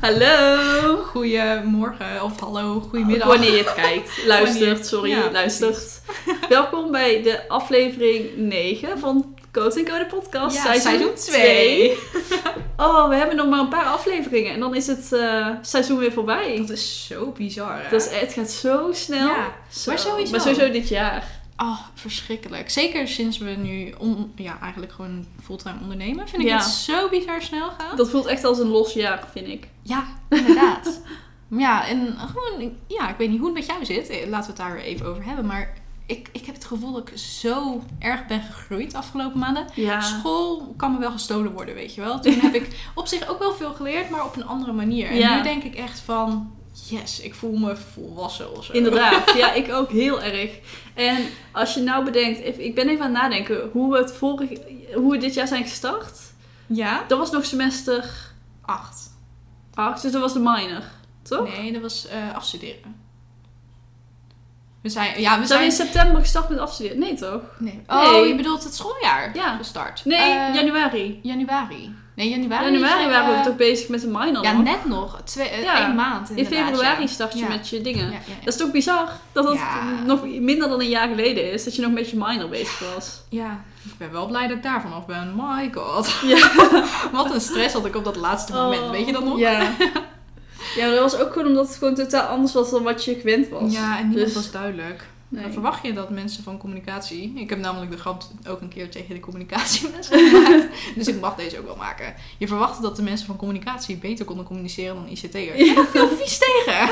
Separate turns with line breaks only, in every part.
Hallo.
Goedemorgen of hallo, goedemiddag.
Wanneer je het kijkt. Luistert,
Wanneer-
sorry,
ja,
luistert. Welkom bij de aflevering 9 van Code Code Podcast.
Ja, seizoen twee.
Oh, we hebben nog maar een paar afleveringen en dan is het eh, seizoen weer voorbij.
Dat is zo bizar. Hè?
Dat is, het gaat zo snel.
Ja,
Zo.
maar sowieso.
Maar sowieso dit jaar.
Oh, verschrikkelijk. Zeker sinds we nu on- ja, eigenlijk gewoon fulltime ondernemen, vind ik
Ja.
het zo bizar snel gaan.
Dat voelt echt als een los jaar, vind ik.
Ja, inderdaad. ja, en gewoon, ja, ik weet niet hoe het met jou zit. Eh, Laten we het daar weer even over hebben. Maar ik, ik heb het gevoel dat ik zo erg ben gegroeid de afgelopen maanden.
Ja.
School kan me wel gestolen worden, weet je wel. Toen heb ik op zich ook wel veel geleerd, maar op een andere manier. En
Ja.
nu denk ik echt van, yes, ik voel me volwassen of zo.
Inderdaad, ja, ik ook heel erg. En als je nou bedenkt, if- ik ben even aan het nadenken hoe we, het vorig, hoe we dit jaar zijn gestart.
Ja?
Dat was nog semester
Acht.
8, dus dat was de minor, toch?
Nee, dat was eh, afstuderen. We zijn, ja, we
zijn we
zijn...
in september gestart met afstuderen? Nee, toch?
Nee. Oh,
Nee.
je bedoelt het schooljaar
Ja.
gestart.
Nee,
Eh,
januari.
Januari. Nee, januari.
Januari
zijn
waren we
we-
toch bezig met de minor?
Ja,
nog?
net nog. Twee, eh,
Ja.
één maand
in
inderdaad,
februari
ja.
start je
Ja.
met eh, je dingen.
Ja, ja, ja.
Dat is toch bizar dat dat
Ja.
nog minder dan een jaar geleden is, dat je nog met je minor bezig was.
Ja. ik ben wel blij dat ik daarvan af ben. My god.
Ja. Oh,
Wat een stress had ik op dat laatste moment. Weet je dat nog?
Ja. ja, maar dat was ook gewoon omdat het gewoon totaal anders was dan wat je gewend was.
Ja, en niemand
Dus-
was duidelijk.
Nee.
Dan verwacht je dat mensen van communicatie... Ik heb namelijk de grap ook een keer tegen de communicatiemensen gemaakt. dus ik mag deze ook wel maken. Je verwachtte dat de mensen van communicatie beter konden communiceren dan ICT'ers. Ja. Veel vies tegen.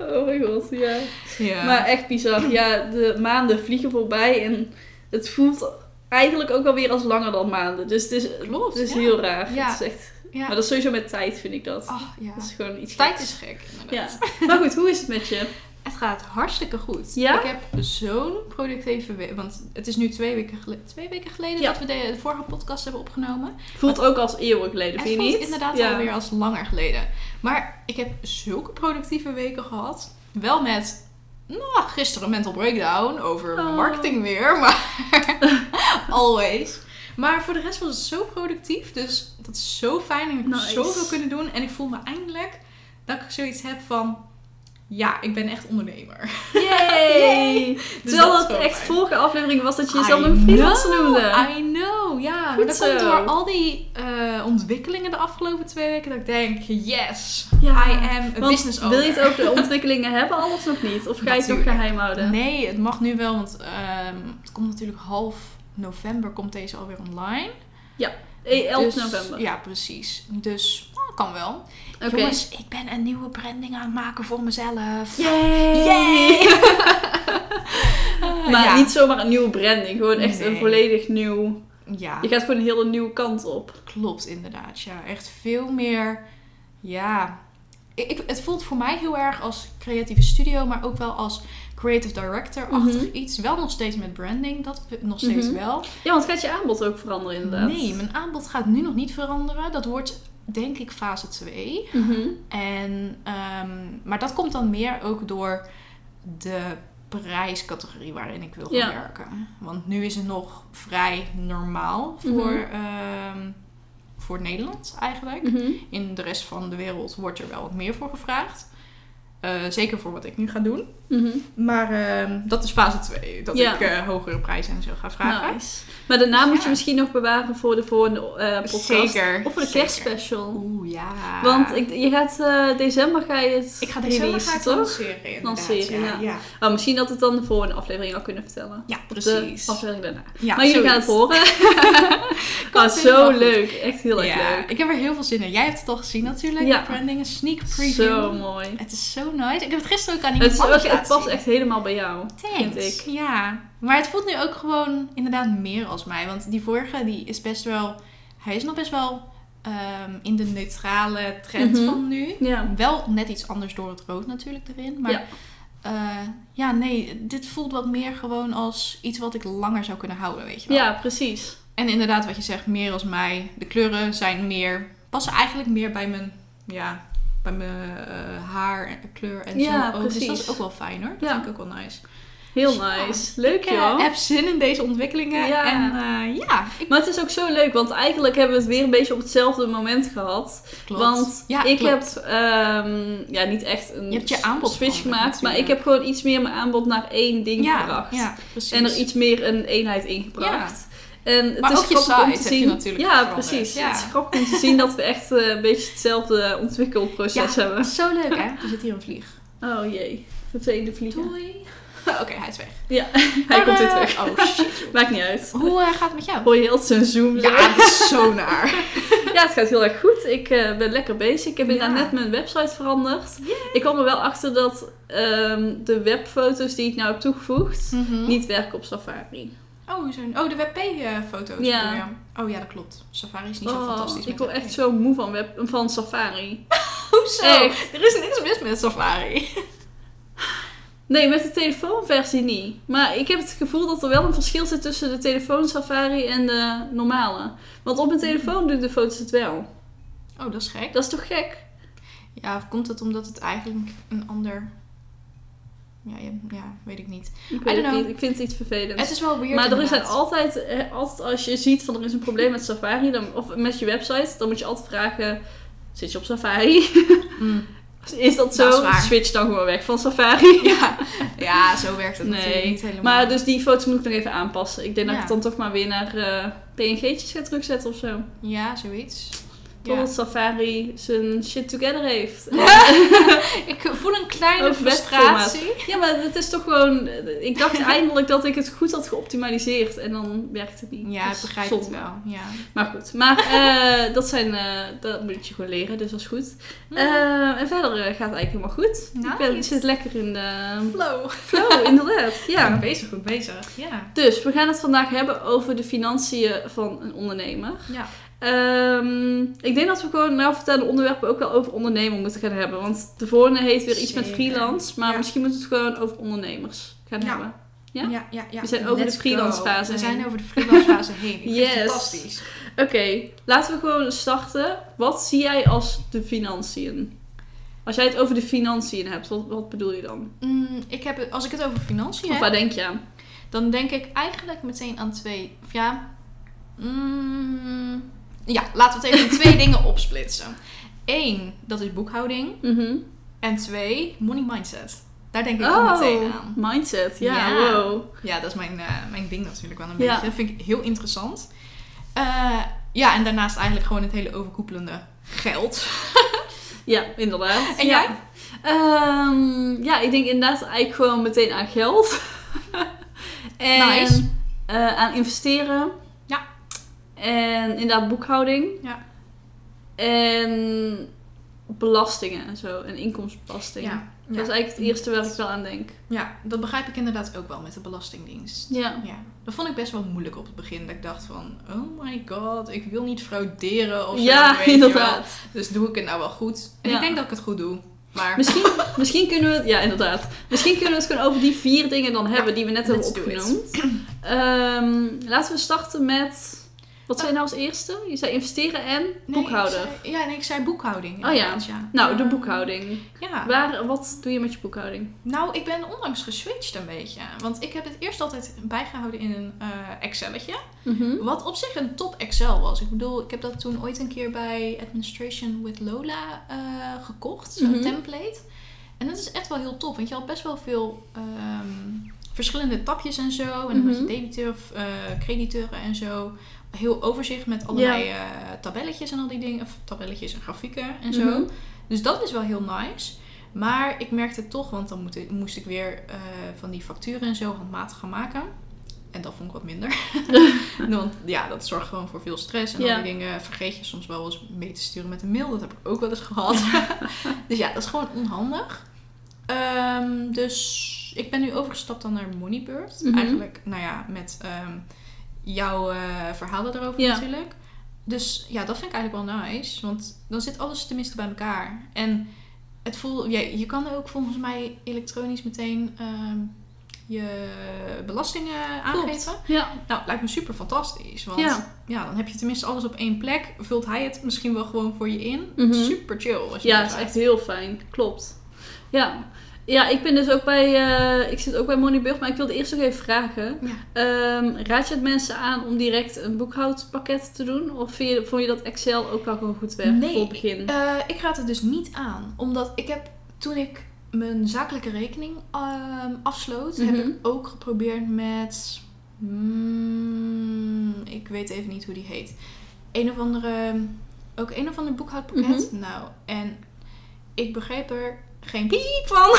Oh mijn god, ja.
Ja.
Maar echt bizar. Ja, de maanden vliegen voorbij en het voelt eigenlijk ook alweer als langer dan maanden. Dus het is,
Klopt,
het is
ja.
heel raar.
Ja.
Het is echt...
ja.
Maar dat is sowieso met tijd, vind ik dat.
Oh, ja.
Dat is gewoon iets
Tijd
geks.
is gek, inderdaad.
Ja. Maar goed, hoe is het met je?
Het gaat hartstikke goed.
Ja?
Ik heb zo'n productieve week. Want het is nu twee weken, gele- twee weken geleden
Ja.
dat we de, de vorige podcast hebben opgenomen.
Voelt ook als eeuwen geleden,
Het
vind je
voelt
niet?
inderdaad
ja.
alweer als langer geleden. Maar ik heb zulke productieve weken gehad. Wel met, nou, gisteren een mental breakdown over mijn
Oh.
marketing weer. Maar always. Maar voor de rest was het zo productief. Dus dat is zo fijn. En ik heb
Nice.
zoveel kunnen doen. En ik voel me eindelijk dat ik zoiets heb van... Ja, ik ben echt ondernemer.
Yay! Terwijl
Dus dat is
dat
wel
echt
fijn.
vorige aflevering was dat je jezelf
I
een freelancer
know,
noemde.
I know, ja.
Goed
dat
zo.
komt door al die eh, ontwikkelingen de afgelopen twee weken. Dat ik denk, yes,
Ja.
I am a
Want
business owner.
Wil je het over de ontwikkelingen hebben, al of nog niet? Of ga je het nog
Natuurlijk.
geheim houden?
Nee, het mag nu wel, want ehm, het komt natuurlijk half november komt deze alweer online.
Eh, 11
Dus-
november.
Ja, precies. Dus, nou, kan wel.
Oké.
Jongens, ik ben een nieuwe branding aan het maken voor mezelf.
Yay!
Yay! Eh,
Maar
ja.
niet zomaar een nieuwe branding, gewoon echt een
Nee.
volledig nieuw.
Ja.
Je gaat gewoon een hele nieuwe kant op.
Klopt, inderdaad. Ja, echt veel meer. Ja. Ik, ik- het voelt voor mij heel erg als creatieve studio, maar ook wel als creative director-achtig
Mhm.
iets. Wel nog steeds met branding, dat nog steeds
Mhm.
wel.
Ja, want gaat je aanbod ook veranderen inderdaad?
Nee, mijn aanbod gaat nu nog niet veranderen. Dat wordt denk ik fase 2.
Mhm.
En, ehm, maar dat komt dan meer ook door de prijscategorie waarin ik wil gaan
Ja.
werken. Want nu is het nog vrij normaal voor, ehm, voor Nederland eigenlijk.
Mhm.
In de rest van de wereld wordt er wel wat meer voor gevraagd. Eh, zeker voor wat ik nu ga doen.
Mhm.
Maar ehm, dat is fase 2. Dat
Ja.
ik eh, hogere prijzen en zo ga vragen.
Nice. Maar de naam moet
Dus Ja.
je misschien nog bewaren voor de volgende eh, podcast.
Zeker,
Of voor de
zeker.
kerstspecial.
Oeh ja.
Want ik, je gaat, eh, december ga je het
ik ga december
releasen,
ga ik lanceren. inderdaad.
Lanceren,
ja.
ja.
Ja.
Oh, misschien dat het dan de volgende aflevering al kunnen vertellen.
Ja,
Of
precies.
De aflevering daarna.
Ja,
maar jullie
zoiets.
gaan het horen.
Komt
Ah,
helemaal
zo
goed.
leuk. Echt heel erg
Ja,
leuk.
ik heb er heel veel zin in. Jij hebt het al gezien natuurlijk.
Ja.
De branding, een sneak preview.
Zo mooi.
Het is zo nice. Ik heb het gisteren ook aan
Het,
iemand
is
anders
ook- het
laten
past
zien.
echt helemaal bij jou. Vind
Thanks.
ik.
Ja, maar het voelt nu ook gewoon inderdaad meer als mij. Want die vorige, die is best wel... Hij is nog best wel eh, ehm, in de neutrale trend
Mhm.
van nu.
Ja.
Wel net iets anders door het rood natuurlijk erin. Maar
Ja.
ja. ja, nee, dit voelt wat meer gewoon als iets wat ik langer zou kunnen houden, weet je wel.
ja, precies.
En inderdaad, wat je zegt, meer als mij. De kleuren zijn meer, passen eigenlijk meer bij mijn, ja, bij mijn eh, haar en kleur en
Ja,
zo ook. Dus dat
precies.
is ook wel fijn hoor. Dat
Ja.
vind ik ook wel nice.
Heel
Ja.
nice. Leuk
Ik eh,
joh.
heb zin in deze ontwikkelingen.
Ja.
En eh, ja, ik
Maar het is ook zo leuk, want eigenlijk hebben we het weer een beetje op hetzelfde moment gehad.
klopt.
Want
ja,
ik
klopt.
heb ehm, ja, niet echt een
Je hebt je aanbod
switch
veranderd
gemaakt, maar ik
natuurlijk.
heb gewoon iets meer mijn aanbod naar één ding
ja,
gebracht.
Ja, precies.
en er iets meer een eenheid in gebracht. En het
Maar
is
ook je
grappig om
site
te
heb je
zien.
natuurlijk
ja,
veranderd.
precies.
Ja.
Het is grappig om te zien dat we echt eh, een beetje hetzelfde ontwikkelproces
Ja.
hebben.
Zo leuk hè? Er zit hier een vlieg.
Oh jee, vervelende vliegen.
Doei. Oké, hij is weg.
Hij
Maar,
komt weer
eh,
terug.
Oh shit.
Maakt niet uit.
Hoe eh, gaat het met jou?
Hoor je heel zijn zoom zo?
Ja, dat is zo naar.
Ja, het gaat heel erg goed. Ik eh, ben lekker bezig. Ik heb
Ja.
inderdaad net mijn website veranderd. Ik kwam er wel achter dat ehm, de webfoto's die ik nou heb toegevoegd niet werken op Safari.
Mhm. Oh, zo'n, oh de WP-foto's.
Ja.
Oh ja, dat klopt. Safari is niet zo
Oh,
fantastisch. met
ik word
WP.
echt zo moe van, web, van Safari.
Hoezo?
Echt.
Er is niks mis met Safari.
Nee, met de telefoonversie niet. Maar ik heb het gevoel dat er wel een verschil zit tussen de telefoon Safari en de normale. Want op mijn telefoon doen de foto's het wel.
Oh, dat is gek.
Dat is toch gek?
Ja, of komt het omdat het eigenlijk een ander... Ja, je- ja weet ik niet.
Ik, weet
don't
het
know.
niet. ik vind het iets vervelend.
Het is wel weird
Maar er is
inderdaad.
dan altijd, eh, altijd, als je ziet van er is een probleem met Safari dan, of met je website, dan moet je altijd vragen: zit je op Safari?
Mm.
Is dat zo?
Dat is waar.
Switch dan gewoon weg van Safari.
Ja. ja, zo werkt het
Nee,
natuurlijk niet helemaal.
Maar dus die foto's moet ik nog even aanpassen. Ik denk dat
Ja.
ik het dan toch maar weer naar eh, PNG'tjes ga terugzetten of zo.
Ja, zoiets. Ja.
Totdat Safari zijn shit together heeft.
Ik voel een kleine
Over
frustratie.
ja, maar het is toch gewoon... Ik dacht eindelijk dat ik het goed had geoptimaliseerd. En dan werkt het niet.
Ja,
Dat
ik
is
begrijp
zonde.
het wel. Ja.
Maar goed, maar eh, dat, zijn, eh, dat moet je gewoon leren, dus dat is goed. Eh, en verder eh, gaat het eigenlijk helemaal goed. Ik, ben, ik
Nice.
zit lekker in de
Mm. Flow.
flow, inderdaad.
Ja,
Ja.
bezig, goed bezig. Ja.
Dus we gaan het vandaag hebben over de financiën van een ondernemer.
Ja.
Ehm, ik denk dat we gewoon nou vertellen onderwerpen ook wel over ondernemer moeten gaan hebben. Want de volgende heet weer iets met
Zeker.
freelance, maar
Ja. misschien
misschien moeten we het gewoon over ondernemers gaan
Ja.
hebben.
hebben.
Ja?
Ja, ja, ja.
We zijn over de
Let's
freelance
go.
fase
We
heen.
zijn over de freelance fase heen. Ik vind
Yes.
het fantastisch.
Oké, laten we gewoon starten. Wat zie jij als de financiën? Als jij het over de financiën hebt, wat, wat bedoel je dan?
Mm, ik heb, het- als ik het over financiën
Of
heb,
waar denk je aan?
dan denk ik eigenlijk meteen aan twee. Of ja. mm, ja, laten we het even in twee dingen opsplitsen. Eén, dat is boekhouding.
Mhm.
En twee, money mindset. Daar denk ik ook meteen
Oh,
aan.
mindset. Ja,
Ja.
wow.
Ja, dat is mijn, eh, mijn ding natuurlijk wel een
Ja.
beetje. Dat vind ik heel interessant. Eh, ja, en daarnaast eigenlijk gewoon het hele overkoepelende geld.
Ja, inderdaad.
En
ja.
jij?
Ehm, ja, ik denk inderdaad eigenlijk gewoon meteen aan geld. en
Nice.
eh, aan investeren.
Ja.
En inderdaad boekhouding.
Ja.
En belastingen en zo. En inkomstenbelastingen. Dat is eigenlijk het eerste waar ik wel aan denk.
Ja, dat begrijp ik inderdaad ook wel met de Belastingdienst.
Ja.
Ja, dat vond ik best wel moeilijk op het begin. Dat ik dacht van, oh my god, ik wil niet frauderen of zo.
Ja,
weet je wel.
inderdaad.
Dus doe ik het nou wel goed? En
Ja.
ik denk dat ik het goed doe. Maar
Misschien, misschien kunnen we het... Ja, inderdaad. Misschien kunnen we het gewoon over die vier dingen dan hebben die we net hebben
let's do it.
opgenoemd. Ehm, laten we starten met... Wat zijn nou als eerste? Je zei investeren en
Nee, ik
boekhouder.
zei- ja, nee, ik zei boekhouding.
Oh ja.
inderdaad,
Nou, de
Eh,
boekhouding.
Ja.
Waar, wat doe je met je boekhouding?
Nou, ik ben onlangs geswitcht een beetje. Want ik heb het eerst altijd bijgehouden in een eh Excelletje.
Mhm.
Wat op zich een top Excel was. Ik bedoel, ik heb dat toen ooit een keer bij Administration with Lola eh, gekocht. Zo'n
Mhm.
template. En dat is echt wel heel tof. Want je had best wel veel ehm, verschillende tapjes en zo. En dan had je
Mhm.
debiteur, eh, crediteuren en zo. Heel overzicht met allerlei eh, tabelletjes en al die dingen. Of tabelletjes en grafieken en zo.
Mhm.
Dus dat is wel heel nice. Maar ik merkte het toch, want dan moet ik- moest ik weer eh, van die facturen en zo handmatig gaan maken. En dat vond ik wat minder. Want ja, dat zorgt gewoon voor veel stress. En
Ja.
al die dingen vergeet je soms wel eens mee te sturen met een mail. Dat heb ik ook wel eens gehad. dus ja, dat is gewoon onhandig. Ehm, dus ik ben nu overgestapt dan naar Moneybird.
Mhm.
Eigenlijk, nou ja, met ehm, jouw eh, verhalen erover
Ja.
natuurlijk. Dus ja, dat vind ik eigenlijk wel nice. Want dan zit alles tenminste bij elkaar. En het voelt, ja, je kan ook volgens mij elektronisch meteen ehm, je belastingen aangeven.
Ja.
Nou, lijkt me super fantastisch. Want ja.
Ja.
dan heb je tenminste alles op één plek. Vult hij het misschien wel gewoon voor je in.
Mhm.
Super chill. als je
Ja,
dat
is
hebt.
echt heel fijn. Klopt. Ja. Ja, ik ben dus ook bij, eh, ik zit ook bij Moneybug, maar ik wilde eerst ook even vragen.
Ja.
Ehm, raad je het mensen aan om direct een boekhoudpakket te doen? Of vind je, vond je dat Excel ook wel gewoon goed werkt
Nee.
voor het begin?
Eh, ik raad het dus niet aan. Omdat ik heb toen ik mijn zakelijke rekening ehm, afsloot, heb
Mhm.
ik ook geprobeerd met. mm, ik weet even niet hoe die heet. Een of andere. Ook een of ander boekhoudpakket.
Mhm.
Nou, en ik begreep er geen piep van.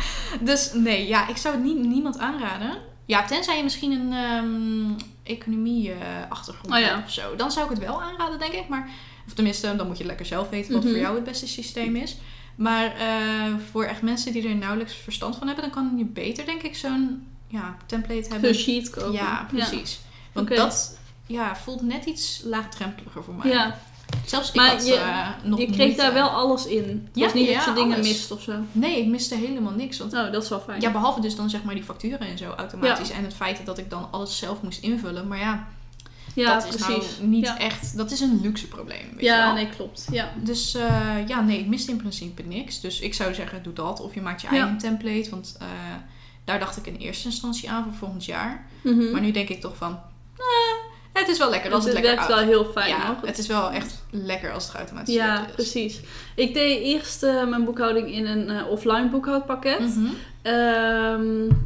dus nee, ja, ik zou het niet, niemand aanraden. Ja, tenzij je misschien een ehm, economie-achtergrond
Oh ja.
hebt of zo. Dan zou ik het wel aanraden, denk ik. Maar, of tenminste, dan moet je lekker zelf weten wat
Mhm.
voor jou het beste systeem is. Maar eh, voor echt mensen die er nauwelijks verstand van hebben, dan kan je beter, denk ik, zo'n ja, template hebben.
Zo'n sheet kopen.
Ja, precies. Want
Oké.
dat ja, voelt net iets laagdrempeliger voor mij.
Ja.
Zelfs ik
Maar
had
je-
eh, nog
Je kreeg
moeite.
daar wel alles in. Het
Ja,
was niet
ja,
dat je dingen
alles.
mist of zo.
Nee, ik miste helemaal niks. Want
Oh, dat is wel fijn.
Ja, behalve dus dan zeg maar die facturen en zo automatisch. En het feit dat ik dan alles zelf moest invullen. Maar ja,
Ja,
dat is nou niet
Ja.
echt... Dat is een luxe probleem, weet je
ja,
wel.
nee, klopt. Ja.
Dus eh, ja, nee, ik miste in principe niks. Dus ik zou zeggen, doe dat. Of je maakt je
Ja.
eigen template. Want eh, daar dacht ik in eerste instantie aan voor volgend jaar.
Mhm. Dus
Maar nu denk ik toch van... "Ah, het is wel lekker als
het
het, lekker
werkt wel heel fijn.
ja,
hoor.
het is wel echt lekker als het geautomatiseerd
Ja,
is.
precies. Ik deed eerst eh, mijn boekhouding in een eh, offline boekhoudpakket.
Mhm.
Ehm,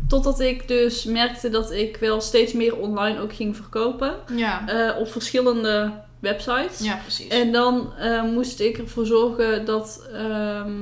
totdat ik dus merkte dat ik wel steeds meer online ook ging verkopen.
Ja.
eh, op verschillende websites.
ja, precies.
Eh, En dan eh, moest ik ervoor zorgen dat. ehm,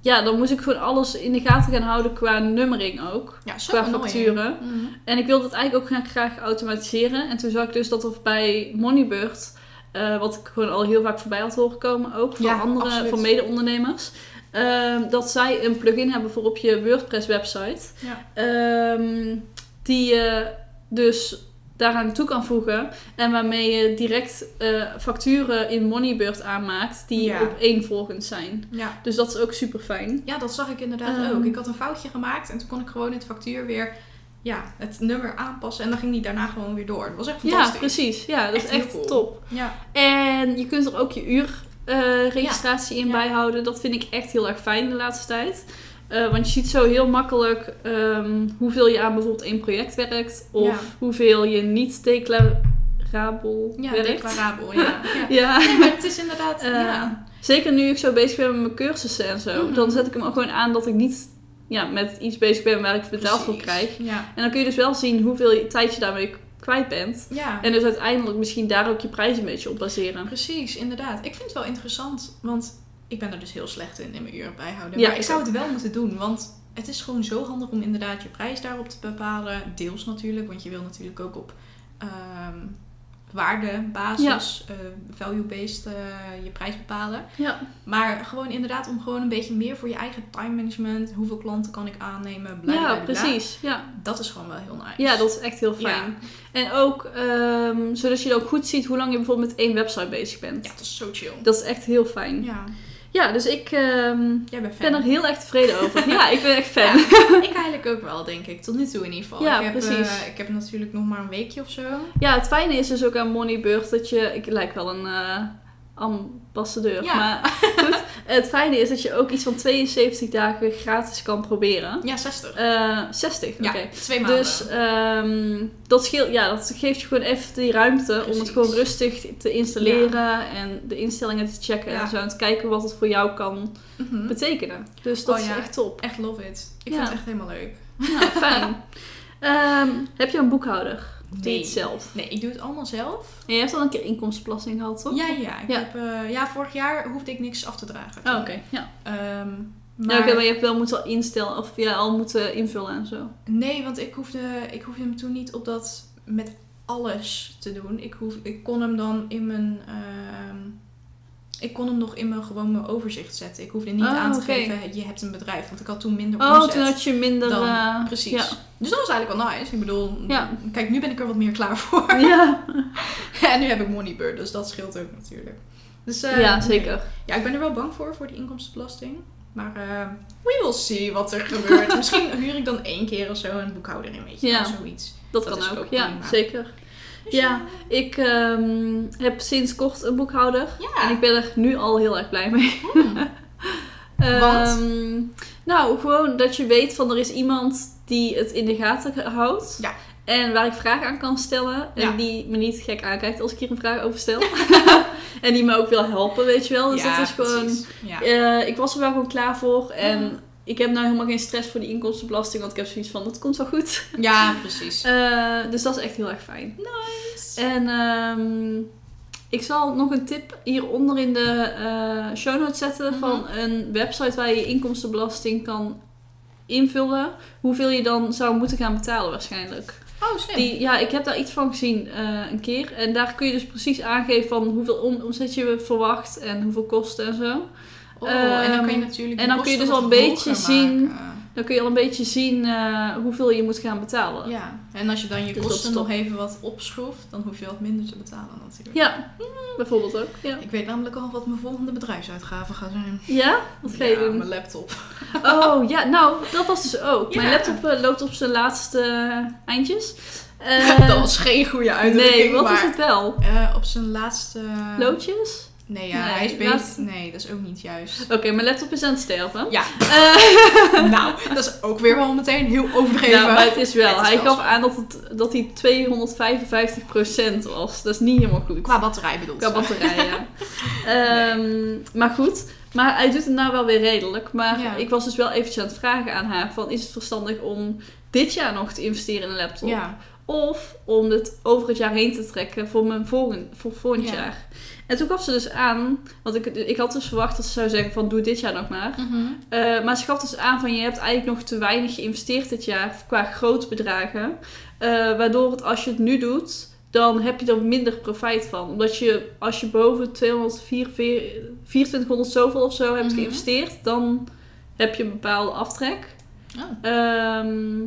ja, dan moest ik gewoon alles in de gaten gaan houden qua nummering ook.
ja, zo
Qua
annoying.
facturen.
Mhm.
En ik wilde het eigenlijk ook gaan graag automatiseren. En toen zag ik dus dat of bij Moneybird, eh, wat ik gewoon al heel vaak voorbij had horen komen, ook van
Ja,
andere,
absoluut.
van mede-ondernemers, ehm, dat zij een plugin hebben voor op je WordPress-website,
Ja.
ehm, die je dus daaraan toe kan voegen en waarmee je direct eh, facturen in Moneybird aanmaakt die
Ja.
op één volgend zijn.
ja.
Dus dat is ook super fijn.
Ja, dat zag ik inderdaad
Ehm.
ook. Ik had een foutje gemaakt en toen kon ik gewoon in het factuur weer ja, het nummer aanpassen. En dan ging die daarna gewoon weer door. Dat was echt fantastisch.
Ja, precies. Ja, dat
Echt
is
heel
echt
cool.
top.
Ja,
En je kunt er ook je uurregistratie in
Ja.
bijhouden. Dat vind ik echt heel erg fijn de laatste tijd. Eh, want je ziet zo heel makkelijk ehm, hoeveel je aan bijvoorbeeld één project werkt. Of
Ja.
hoeveel je niet declarabel
ja
werkt.
declarabel. Ja. ja.
ja.
Nee, maar het is inderdaad...
Eh,
ja.
Zeker nu ik zo bezig ben met mijn cursussen en zo.
Mhm.
Dan zet ik hem ook gewoon aan dat ik niet ja, met iets bezig ben waar ik betaald voor
precies.
krijg.
Ja.
En dan kun je dus wel zien hoeveel je- tijd je daarmee k- kwijt bent.
ja.
En dus uiteindelijk misschien daar ook je prijs een beetje op baseren.
Precies, inderdaad. Ik vind het wel interessant, want ik ben er dus heel slecht in, in mijn uren bijhouden.
Ja,
maar ik
ik
zou het wel moeten doen, want het is gewoon zo handig om inderdaad je prijs daarop te bepalen. Deels natuurlijk, want je wil natuurlijk ook op ehm, waardebasis, eh, value-based, eh, je prijs bepalen.
Ja.
Maar gewoon inderdaad om gewoon een beetje meer voor je eigen time management. Hoeveel klanten kan ik aannemen? Bla, bla,
Ja,
bla.
precies. Ja.
Dat is gewoon wel heel nice.
Ja, dat is echt heel fijn. En ook ehm, zodat je ook goed ziet hoe lang je bijvoorbeeld met één website bezig bent.
Ja, dat is zo chill.
Dat is echt heel fijn. Ja,
Ja,
dus ik ehm,
jij bent fan.
ben er heel erg tevreden over. ja, ik ben echt fan.
Ja, ik eigenlijk ook wel, denk ik. Tot nu toe in ieder geval.
Ja,
ik heb,
precies.
eh, ik heb natuurlijk nog maar een weekje of zo.
Ja, het fijne is dus ook aan Moneybird dat je... Ik lijk wel een eh, ambassadeur,
Ja.
maar goed. Het fijne is dat je ook iets van 72 dagen gratis kan proberen.
Ja, 60.
Eh 60, oké.
ja, twee maanden.
Dus ehm, dat, scheelt, ja, dat geeft je gewoon even die ruimte om
Precies.
het gewoon rustig te installeren en de instellingen te checken
Ja.
en zo. En te kijken wat het voor jou kan
Mhm.
betekenen. Dus dat
Oh ja.
is echt top.
Echt love it. Ik
Ja.
vind het echt helemaal leuk.
Ja, fijn. Ehm, heb je een boekhouder? Of doe je het zelf?
Nee, ik doe het allemaal zelf.
En je hebt al een keer inkomstenbelasting gehad, toch?
Ja, ja. Ik
Ja.
Heb, eh, ja, vorig jaar hoefde ik niks af te dragen.
Oh, oké. Ja.
Ehm,
Ja,
maar,
oké, maar je hebt wel moeten instellen of ja, al moeten invullen en zo.
Nee, want ik hoefde, ik hoefde hem toen niet op dat met alles te doen. Ik, hoef, ik kon hem dan in mijn... ehm, ik kon hem nog in mijn, gewoon mijn overzicht zetten. Ik hoefde niet
Oh,
aan te
oké.
geven, je hebt een bedrijf. Want ik had toen minder
Oh,
omzet.
toen had je minder.
dan-
eh,
precies.
Ja.
Dus dat was eigenlijk wel nice. Ik bedoel,
Ja.
kijk, nu ben ik er wat meer klaar voor.
Ja,
en nu heb ik Moneybird, dus dat scheelt ook natuurlijk. Dus, eh,
ja
nee.
zeker.
Ja, ik ben er wel bang voor, voor die inkomstenbelasting. Maar eh, we will see wat er gebeurt. Misschien huur ik dan één keer of zo een boekhouder in, weet je
Ja.
wel, zoiets.
Dat,
Dat is
kan ook.
ook
Ja,
prima.
zeker.
Dus
Ja, ik ehm, heb sinds kort een boekhouder.
Ja. Hmm.
En ik ben er nu al heel erg blij mee.
Want?
Ehm, nou, gewoon dat je weet van er is iemand die het in de gaten houdt.
Ja.
En waar ik vragen aan kan stellen. En
Ja.
die me niet gek aankijkt als ik hier een vraag over stel. en die me ook wil helpen, weet je wel. Dus
Ja,
dat is gewoon...
precies. Ja.
Eh, ik was er wel gewoon klaar voor. En
Mhm.
ik heb nou helemaal geen stress voor die inkomstenbelasting. Want ik heb zoiets van, dat komt wel goed.
ja, precies.
Eh, dus dat is echt heel erg fijn.
Nice.
En ehm, ik zal nog een tip hieronder in de eh, show notes zetten
Mhm.
van een website waar je je inkomstenbelasting kan invullen. Hoeveel je dan zou moeten gaan betalen waarschijnlijk.
Oh, slim.
Eh, Die, ja, ik heb daar iets van gezien eh, een keer. En daar kun je dus precies aangeven van hoeveel om- omzet je verwacht en hoeveel kosten en zo.
oh, en dan kan je
ehm,
natuurlijk
en
de
dan kun
kosten
je dus al
wat
een beetje
hoger
zien-
maken.
Dan kun je al een beetje zien eh, hoeveel je moet gaan betalen.
Ja, en als je dan je
Dus dat
kosten
is top.
nog even wat opschroeft, dan hoef je wat minder te betalen natuurlijk.
Ja, bijvoorbeeld ook. Ja,
Ik weet namelijk al wat mijn volgende bedrijfsuitgaven gaan zijn.
ja? wat ga je
ja,
doen?
mijn laptop.
Oh ja, nou, dat was dus ook.
Ja.
Mijn laptop eh, loopt op zijn laatste eh, eindjes. Eh,
dat was geen goede uitdrukking,
Nee, wat
maar...
is het wel?
Eh, op zijn laatste...
Loodjes?
Nee, ja,
Nee,
hij is bezig.
laatste-
Nee, dat is ook niet juist.
Oké, mijn laptop is aan het sterven.
Ja,
Eh,
nou, dat is ook weer wel meteen heel overdreven.
nou, maar het is wel.
Het is
hij
wel
gaf
zo.
aan dat, het, dat hij 255% was. Dat is niet helemaal goed.
Qua batterij bedoeld.
Qua batterij, ja. Ehm, maar goed. Maar hij doet het nou wel weer redelijk. Maar
Ja.
ik was dus wel eventjes aan het vragen aan haar. Van, is het verstandig om dit jaar nog te investeren in een laptop?
Ja,
Of om het over het jaar heen te trekken voor mijn volgend, voor volgend
Ja.
jaar. En toen gaf ze dus aan, want ik, ik had dus verwacht dat ze zou zeggen van doe dit jaar nog maar.
Mhm.
Eh, maar ze gaf dus aan van je hebt eigenlijk nog te weinig geïnvesteerd dit jaar qua grote bedragen. Eh, waardoor het als je het nu doet, dan heb je er minder profijt van. Omdat je als je boven 204, 2400 zoveel of zo hebt
Mhm.
geïnvesteerd, dan heb je een bepaalde aftrek.
Oh.
Ehm,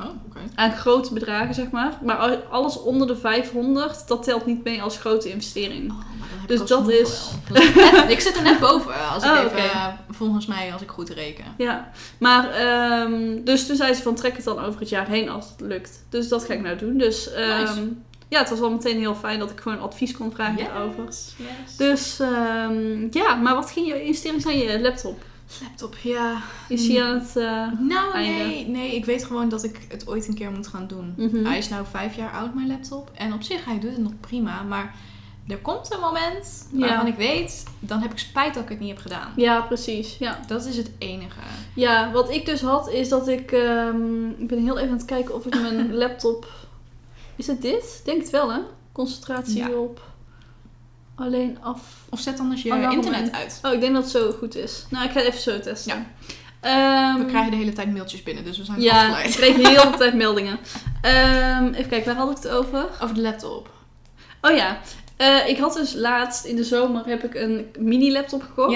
oh, oké.
aan grote bedragen, zeg maar. Maar al- alles onder de 500, dat telt niet mee als grote investering.
Oh, maar dan heb
Dus
ik
dat
alsnog
is-
wel. Dat is net- ik zit er net boven, als ik
Oh,
even,
oké.
eh, volgens mij, als ik goed reken.
Ja, maar ehm, dus toen zei ze van trek het dan over het jaar heen als het lukt. Dus dat ga ik nou doen. Dus ehm,
Nice.
ja, het was wel meteen heel fijn dat ik gewoon advies kon vragen daarover.
Yes.
Dus ehm, ja, maar wat ging je investering zijn? Je laptop?
Laptop, ja.
Is
Hmm.
die aan het... eh,
Nou,
Einde.
nee, nee, ik weet gewoon dat ik het ooit een keer moet gaan doen.
Mhm.
Hij is nou vijf jaar oud, mijn laptop. En op zich, hij doet het nog prima. Maar er komt een moment
Ja.
waarvan ik weet, dan heb ik spijt dat ik het niet heb gedaan.
Ja, precies. Ja.
Dat is het enige.
ja, wat ik dus had is dat ik... ehm, ik ben heel even aan het kijken of ik mijn laptop... Is het dit? Ik Denk het wel, hè? Concentratie
Ja.
op alleen af...
Of zet anders je
Oh, waarom?
internet uit.
Oh, ik denk dat het zo goed is. Nou, ik ga het even zo testen.
Ja.
Ehm,
We krijgen de hele tijd mailtjes binnen, dus we zijn
Ja, ik
afgeleid.
kreeg de hele tijd meldingen. Ehm, even kijken, waar had ik het over?
Over de laptop.
Oh ja, Eh, ik had dus laatst in de zomer heb ik een mini-laptop gekocht.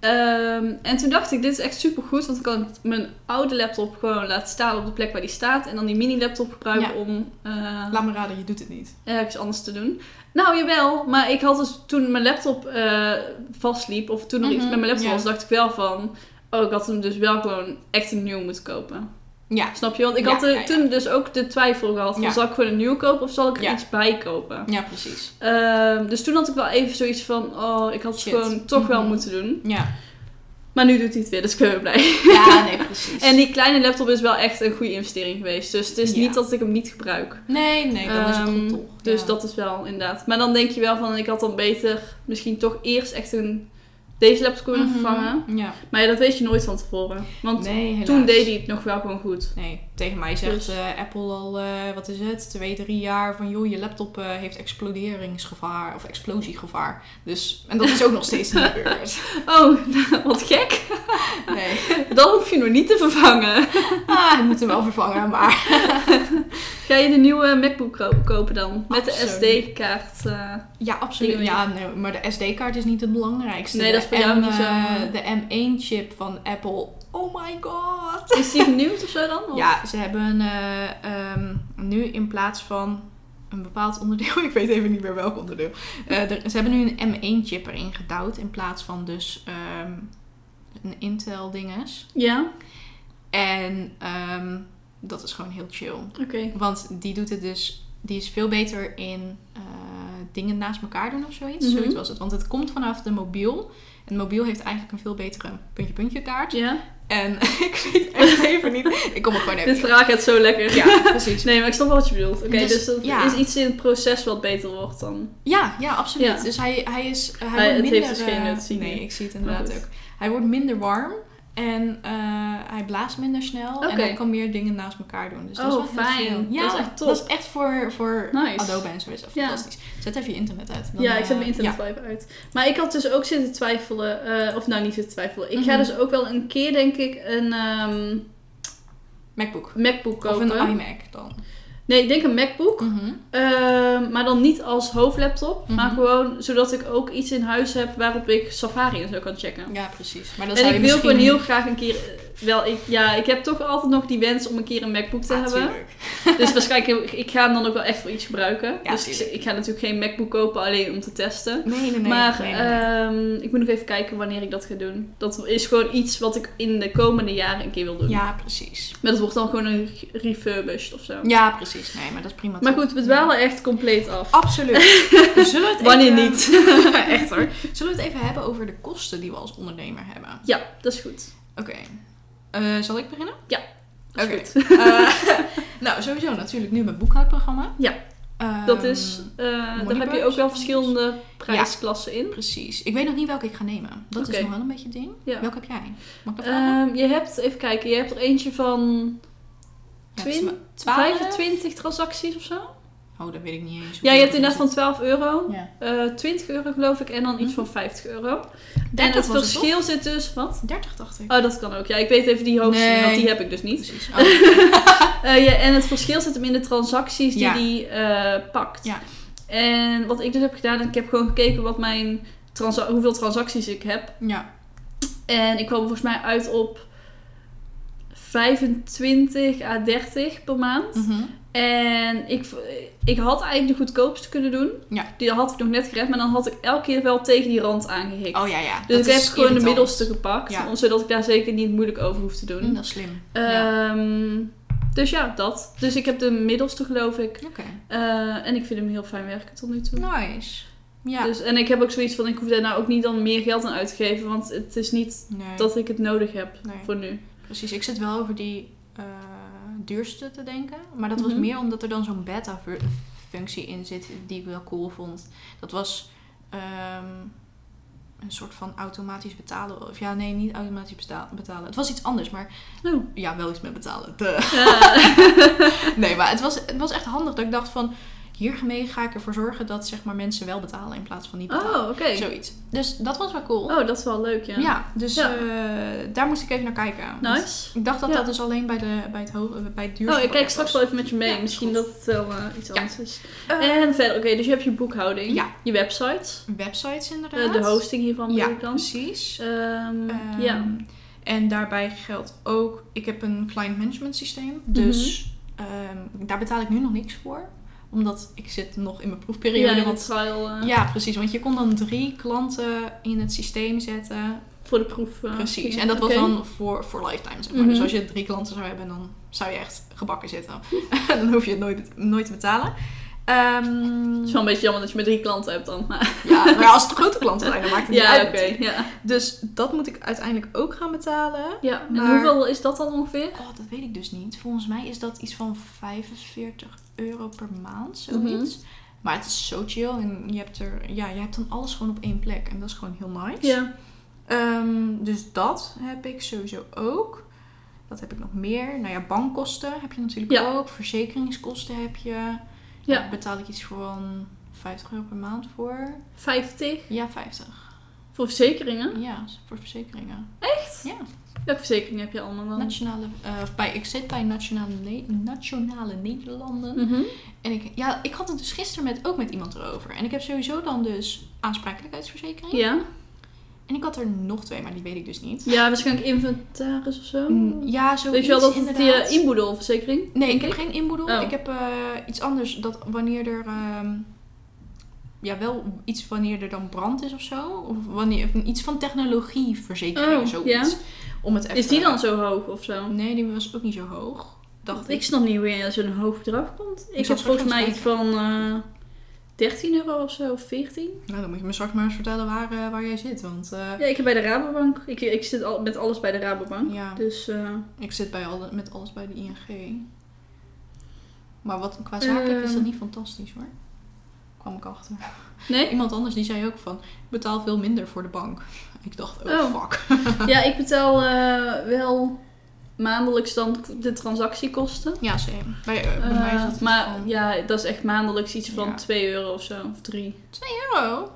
Ja.
Ehm, en toen dacht ik, dit is echt supergoed, want dan kan ik mijn oude laptop gewoon laten staan op de plek waar die staat. En dan die mini-laptop gebruiken
Ja.
om... eh,
Laat me raden, je doet het niet.
ergens anders te doen. Nou, jawel. Maar ik had dus toen mijn laptop eh, vastliep, of toen er iets
Mhm,
met mijn laptop
ja.
was, dacht ik wel van... Oh, ik had hem dus wel gewoon echt een nieuw moeten kopen.
Ja.
Snap je? Want ik
Ja,
had de-
ja, ja.
toen dus ook de twijfel gehad van...
Ja.
Zal ik gewoon een nieuw kopen of zal ik er
Ja.
iets bij kopen?
Ja, precies.
Ehm, dus toen had ik wel even zoiets van... Oh, ik had het
Shit.
gewoon toch wel
Mhm.
moeten doen.
Ja.
Maar nu doet hij het weer, dus ik ben weer blij.
Ja, nee, precies.
En die kleine laptop is wel echt een goede investering geweest. Dus het is
Ja.
niet dat ik hem niet gebruik.
Nee, nee, dan is het goed
Ehm,
toch.
Dus
Ja.
dat is wel inderdaad. Maar dan denk je wel van, ik had dan beter misschien toch eerst echt een, deze laptop kunnen
Mhm.
vervangen.
Ja.
Maar ja, dat weet je nooit van tevoren. Want
Nee, helaas.
toen deed hij het nog wel gewoon goed.
Nee, tegen mij zegt
Dus-
eh, Apple al, eh, wat is het, twee, drie jaar van joh, je laptop eh, heeft exploderingsgevaar of explosiegevaar. Dus, en dat is ook nog steeds niet gebeurd.
Oh, wat gek.
Nee,
Dan hoef je nog niet te vervangen.
ah, ik moet hem wel vervangen, maar...
Ga je de nieuwe MacBook ko- kopen dan? Met de
Absoluut.
SD-kaart. eh,
Ja, absoluut. Ja, nee, maar de SD-kaart is niet het belangrijkste.
Nee, dat is voor
De
jou
M,
niet zo-
eh, De M1-chip van Apple oh my god.
Is die vernieuwd of zo dan? Of-
Ja, ze hebben eh, ehm, nu in plaats van een bepaald onderdeel, ik weet even niet meer welk onderdeel, eh, er- ze hebben nu een M1-chip erin gedouwd in plaats van dus ehm, een Intel-dinges.
Ja,
En ehm, dat is gewoon heel chill.
oké.
Want die doet het dus, die is veel beter in eh, dingen naast elkaar doen of zoiets.
Mhm.
Zoiets was het. Want het komt vanaf de mobiel. En de mobiel heeft eigenlijk een veel betere puntje-puntje kaart.
Ja,
En ik weet echt even niet. Ik kom er gewoon even
dit verhaal gaat zo lekker.
Ja, precies.
Nee, maar ik snap wel wat je bedoelt. Oké,
Dus,
dus, dat
ja.
is iets in het proces wat beter wordt dan.
Ja, ja, absoluut.
Ja.
Dus hij, hij is hij
Hij-
wordt
het
minder...
heeft dus geen
eh,
nut, zie ik
Nee,
niet.
ik zie het inderdaad
Maar goed.
ook. Hij wordt minder warm en eh, hij blaast minder snel. En
Oké.
hij kan meer dingen naast elkaar doen. Dus dat
Oh,
is wel heel
fijn.
chill. Ja,
Dat is echt top.
Dat is echt voor, voor
Nice.
Adobe en zo is dat
Ja.
fantastisch. Zet even je internet uit. Dan,
ja, ik zet
eh,
mijn internet
ja.
live uit. Maar ik had dus ook zitten twijfelen, eh, of nou niet zitten twijfelen. Ik ga
Mhm.
dus ook wel een keer, denk ik, een ehm,
MacBook.
MacBook
Of
kopen.
een iMac dan.
nee, ik denk een MacBook.
Mhm.
Ehm, maar dan niet als hoofdlaptop, maar
Mhm.
gewoon zodat ik ook iets in huis heb waarop ik Safari en zo kan checken.
Ja, precies. Maar dan
en
zou
ik
je
wil
misschien...
gewoon heel graag een keer. eh, Wel, ik, ja, ik heb toch altijd nog die wens om een keer een MacBook te
Ja,
hebben.
Ah, tuurlijk.
Dus waarschijnlijk, ik ga hem dan ook wel echt voor iets gebruiken.
Ja,
dus ik,
tuurlijk.
ik ga natuurlijk geen MacBook kopen alleen om te testen.
Nee, nee, nee.
maar
nee, nee, nee.
ehm, ik moet nog even kijken wanneer ik dat ga doen. Dat is gewoon iets wat ik in de komende jaren een keer wil doen.
Ja, precies.
Maar dat wordt dan gewoon een re- refurbished of zo.
Ja, precies. Nee, maar dat is prima.
Maar
toch?
goed, we dwalen echt compleet
Oh,
af.
Absoluut. Zullen we het
Wanneer
even-
niet?
Echt hoor. Zullen we het even hebben over de kosten die we als ondernemer hebben?
Ja, dat is goed.
Oké. Eh, zal ik beginnen?
Dat is
Oké.
goed.
Eh, nou, sowieso natuurlijk nu mijn boekhoudprogramma.
Ja.
Ehm,
Dat is, eh, daar heb je ook wel verschillende prijsklassen in.
Precies. Ik weet nog niet welke ik ga nemen. Dat is
Oké.
nog wel een beetje het ding.
Ja.
Welke heb jij? Mag ik dat vragen?
Ehm, je hebt, even kijken, je hebt er eentje van
Ja, het is
twin-
maar 12?
25 transacties of zo.
Oh, dat weet ik niet eens.
Ja, je hebt inderdaad van 12 euro,
Ja.
eh, 20 euro geloof ik en dan iets van 50 euro. En
30
het
Mhm. was het,
verschil zit dus, wat?
30 dacht ik.
Oh, dat kan ook. Ja, ik weet even die hoogste,
Nee.
want die heb ik dus niet.
Precies. Oh,
Eh, ja, en het verschil zit hem in de transacties die
Ja.
die eh, pakt.
Ja.
En wat ik dus heb gedaan, ik heb gewoon gekeken wat mijn transa- hoeveel transacties ik heb.
ja.
En ik kwam volgens mij uit op 25 à 30 per maand.
Mhm.
En ik, v- ik had eigenlijk de goedkoopste kunnen doen.
Ja.
Die had ik nog net gered, maar dan had ik elke keer wel tegen die rand aangehikt.
Oh ja, ja.
Dus
Dat
ik heb
is
gewoon de
irritant.
middelste gepakt,
Ja.
om- zodat ik daar zeker niet moeilijk over hoef te doen. Eh,
Mm, Dat is slim. Ja.
Ehm, Dus ja, dat. Dus ik heb de middelste, geloof ik.
Oké.
Eh, en ik vind hem heel fijn werken tot nu toe.
Nice. Nou, Ja.
Dus, en ik heb ook zoiets van, ik hoef daar nou ook niet dan meer geld aan uit te geven, want het is niet
nee.
dat ik het nodig heb
Nee.
voor nu.
Precies, ik zit wel over die eh, duurste te denken. Maar dat was
Mhm.
meer omdat er dan zo'n beta-functie in zit die ik wel cool vond. Dat was ehm, een soort van automatisch betalen. Of ja, nee, niet automatisch beta- betalen. Het was iets anders, maar
Oh.
ja, wel iets met betalen. Duh.
Eh,
Nee, maar het was, het was echt handig dat ik dacht van... Hiermee ga ik ervoor zorgen dat zeg maar, mensen wel betalen in plaats van niet betalen.
oh, oké.
Zoiets. Dus dat was wel cool.
Oh, dat is wel leuk, ja.
ja. dus
Ja.
eh, daar moest ik even naar kijken. Want
Nice.
ik dacht dat
Ja.
dat dus alleen bij, de, bij het, hoog, eh, bij het duurste
Oh, ik kijk
pakket
straks wel
was.
even met je mee.
Ja, is
Misschien
goed.
dat het wel eh, iets
Ja.
anders is.
Eh,
En verder, oké, dus je hebt je boekhouding.
Ja.
Je websites.
websites inderdaad.
eh, de hosting hiervan
Ja,
bedoel ik dan.
precies.
Ehm,
Ehm,
ja.
En daarbij geldt ook... Ik heb een client management systeem.
Mhm.
Dus ehm, daar betaal ik nu nog niks voor. Omdat ik zit nog in mijn
ja,
proefperiode.
in de
want,
trial eh,
ja, precies. Want je kon dan drie klanten in het systeem zetten.
voor de proef. eh,
Precies.
ja,
En dat was
oké.
dan voor, voor lifetime, zeg maar.
Mhm.
Dus als je drie klanten zou hebben, dan zou je echt gebakken zitten. dan hoef je het nooit, nooit te betalen. Ehm,
Het is wel een beetje jammer dat je maar drie klanten hebt dan. Maar,
ja, maar als het grote klanten zijn, dan maakt het
ja,
niet
oké.
uit.
ja.
Dus dat moet ik uiteindelijk ook gaan betalen.
ja. En
Maar-
hoeveel is dat dan ongeveer?
Oh, dat weet ik dus niet. Volgens mij is dat iets van 45 euro per maand, zoiets.
Mhm.
Maar het is zo chill en je hebt, er, ja, je hebt dan alles gewoon op één plek. En dat is gewoon heel nice.
Ja.
Ehm, dus dat heb ik sowieso ook. Wat heb ik nog meer? Nou ja, bankkosten heb je natuurlijk
Ja.
ook. Verzekeringskosten heb je.
Ja.
Daar betaal ik iets van 50 euro per maand voor.
50
Ja, 50.
voor verzekeringen.
Ja, voor verzekeringen.
Echt?
Ja.
Welke verzekeringen heb je allemaal dan?
Nationale, eh, of bij, ik zit bij Nationale, Ne- Nationale Nederlanden.
Mhm.
En ik, ja, ik had het dus gisteren met, ook met iemand erover. En ik heb sowieso dan dus aansprakelijkheidsverzekering.
Ja.
En ik had er nog twee, maar die weet ik dus niet.
Ja, waarschijnlijk inventaris of zo.
Mm, Ja, zoiets
Weet Oh. je wel, dat is
inderdaad.
die eh, inboedelverzekering.
Nee, ik heb geen inboedel.
Oh.
Ik heb eh, iets anders. Dat wanneer er. ehm, ja, wel iets wanneer er dan brand is of zo. Of wanneer, of iets van technologieverzekering
Oh,
of zoiets.
ja.
Om het even,
Is die dan zo hoog of zo?
Nee, die was ook niet zo hoog. Dacht
ik
ik.
snap niet hoe je aan zo'n hoog bedrag komt. Ik
zal
heb
straks
volgens mij
even
iets van eh 13 euro of zo, of 14.
Nou, dan moet je me straks maar eens vertellen waar, eh, waar jij zit. Want eh,
Ja, ik heb bij de Rabobank. Ik, ik zit al, met alles bij de Rabobank.
ja,
Dus eh,
ik zit bij alle, met alles bij de ING. Maar wat, qua zakelijk is dat
Ehm.
niet fantastisch hoor. Kwam ik achter. Eh,
nee?
Iemand anders die zei ook van, ik betaal veel minder voor de bank. Ik dacht, oh,
Oh.
fuck.
Ja, ik betaal eh, wel maandelijks dan de transactiekosten.
Ja, same. Bij, eh, bij mij is dat
Eh,
iets
maar
van
ja, dat is echt maandelijks iets van
Ja.
2 euro of zo, of 3.
2 euro.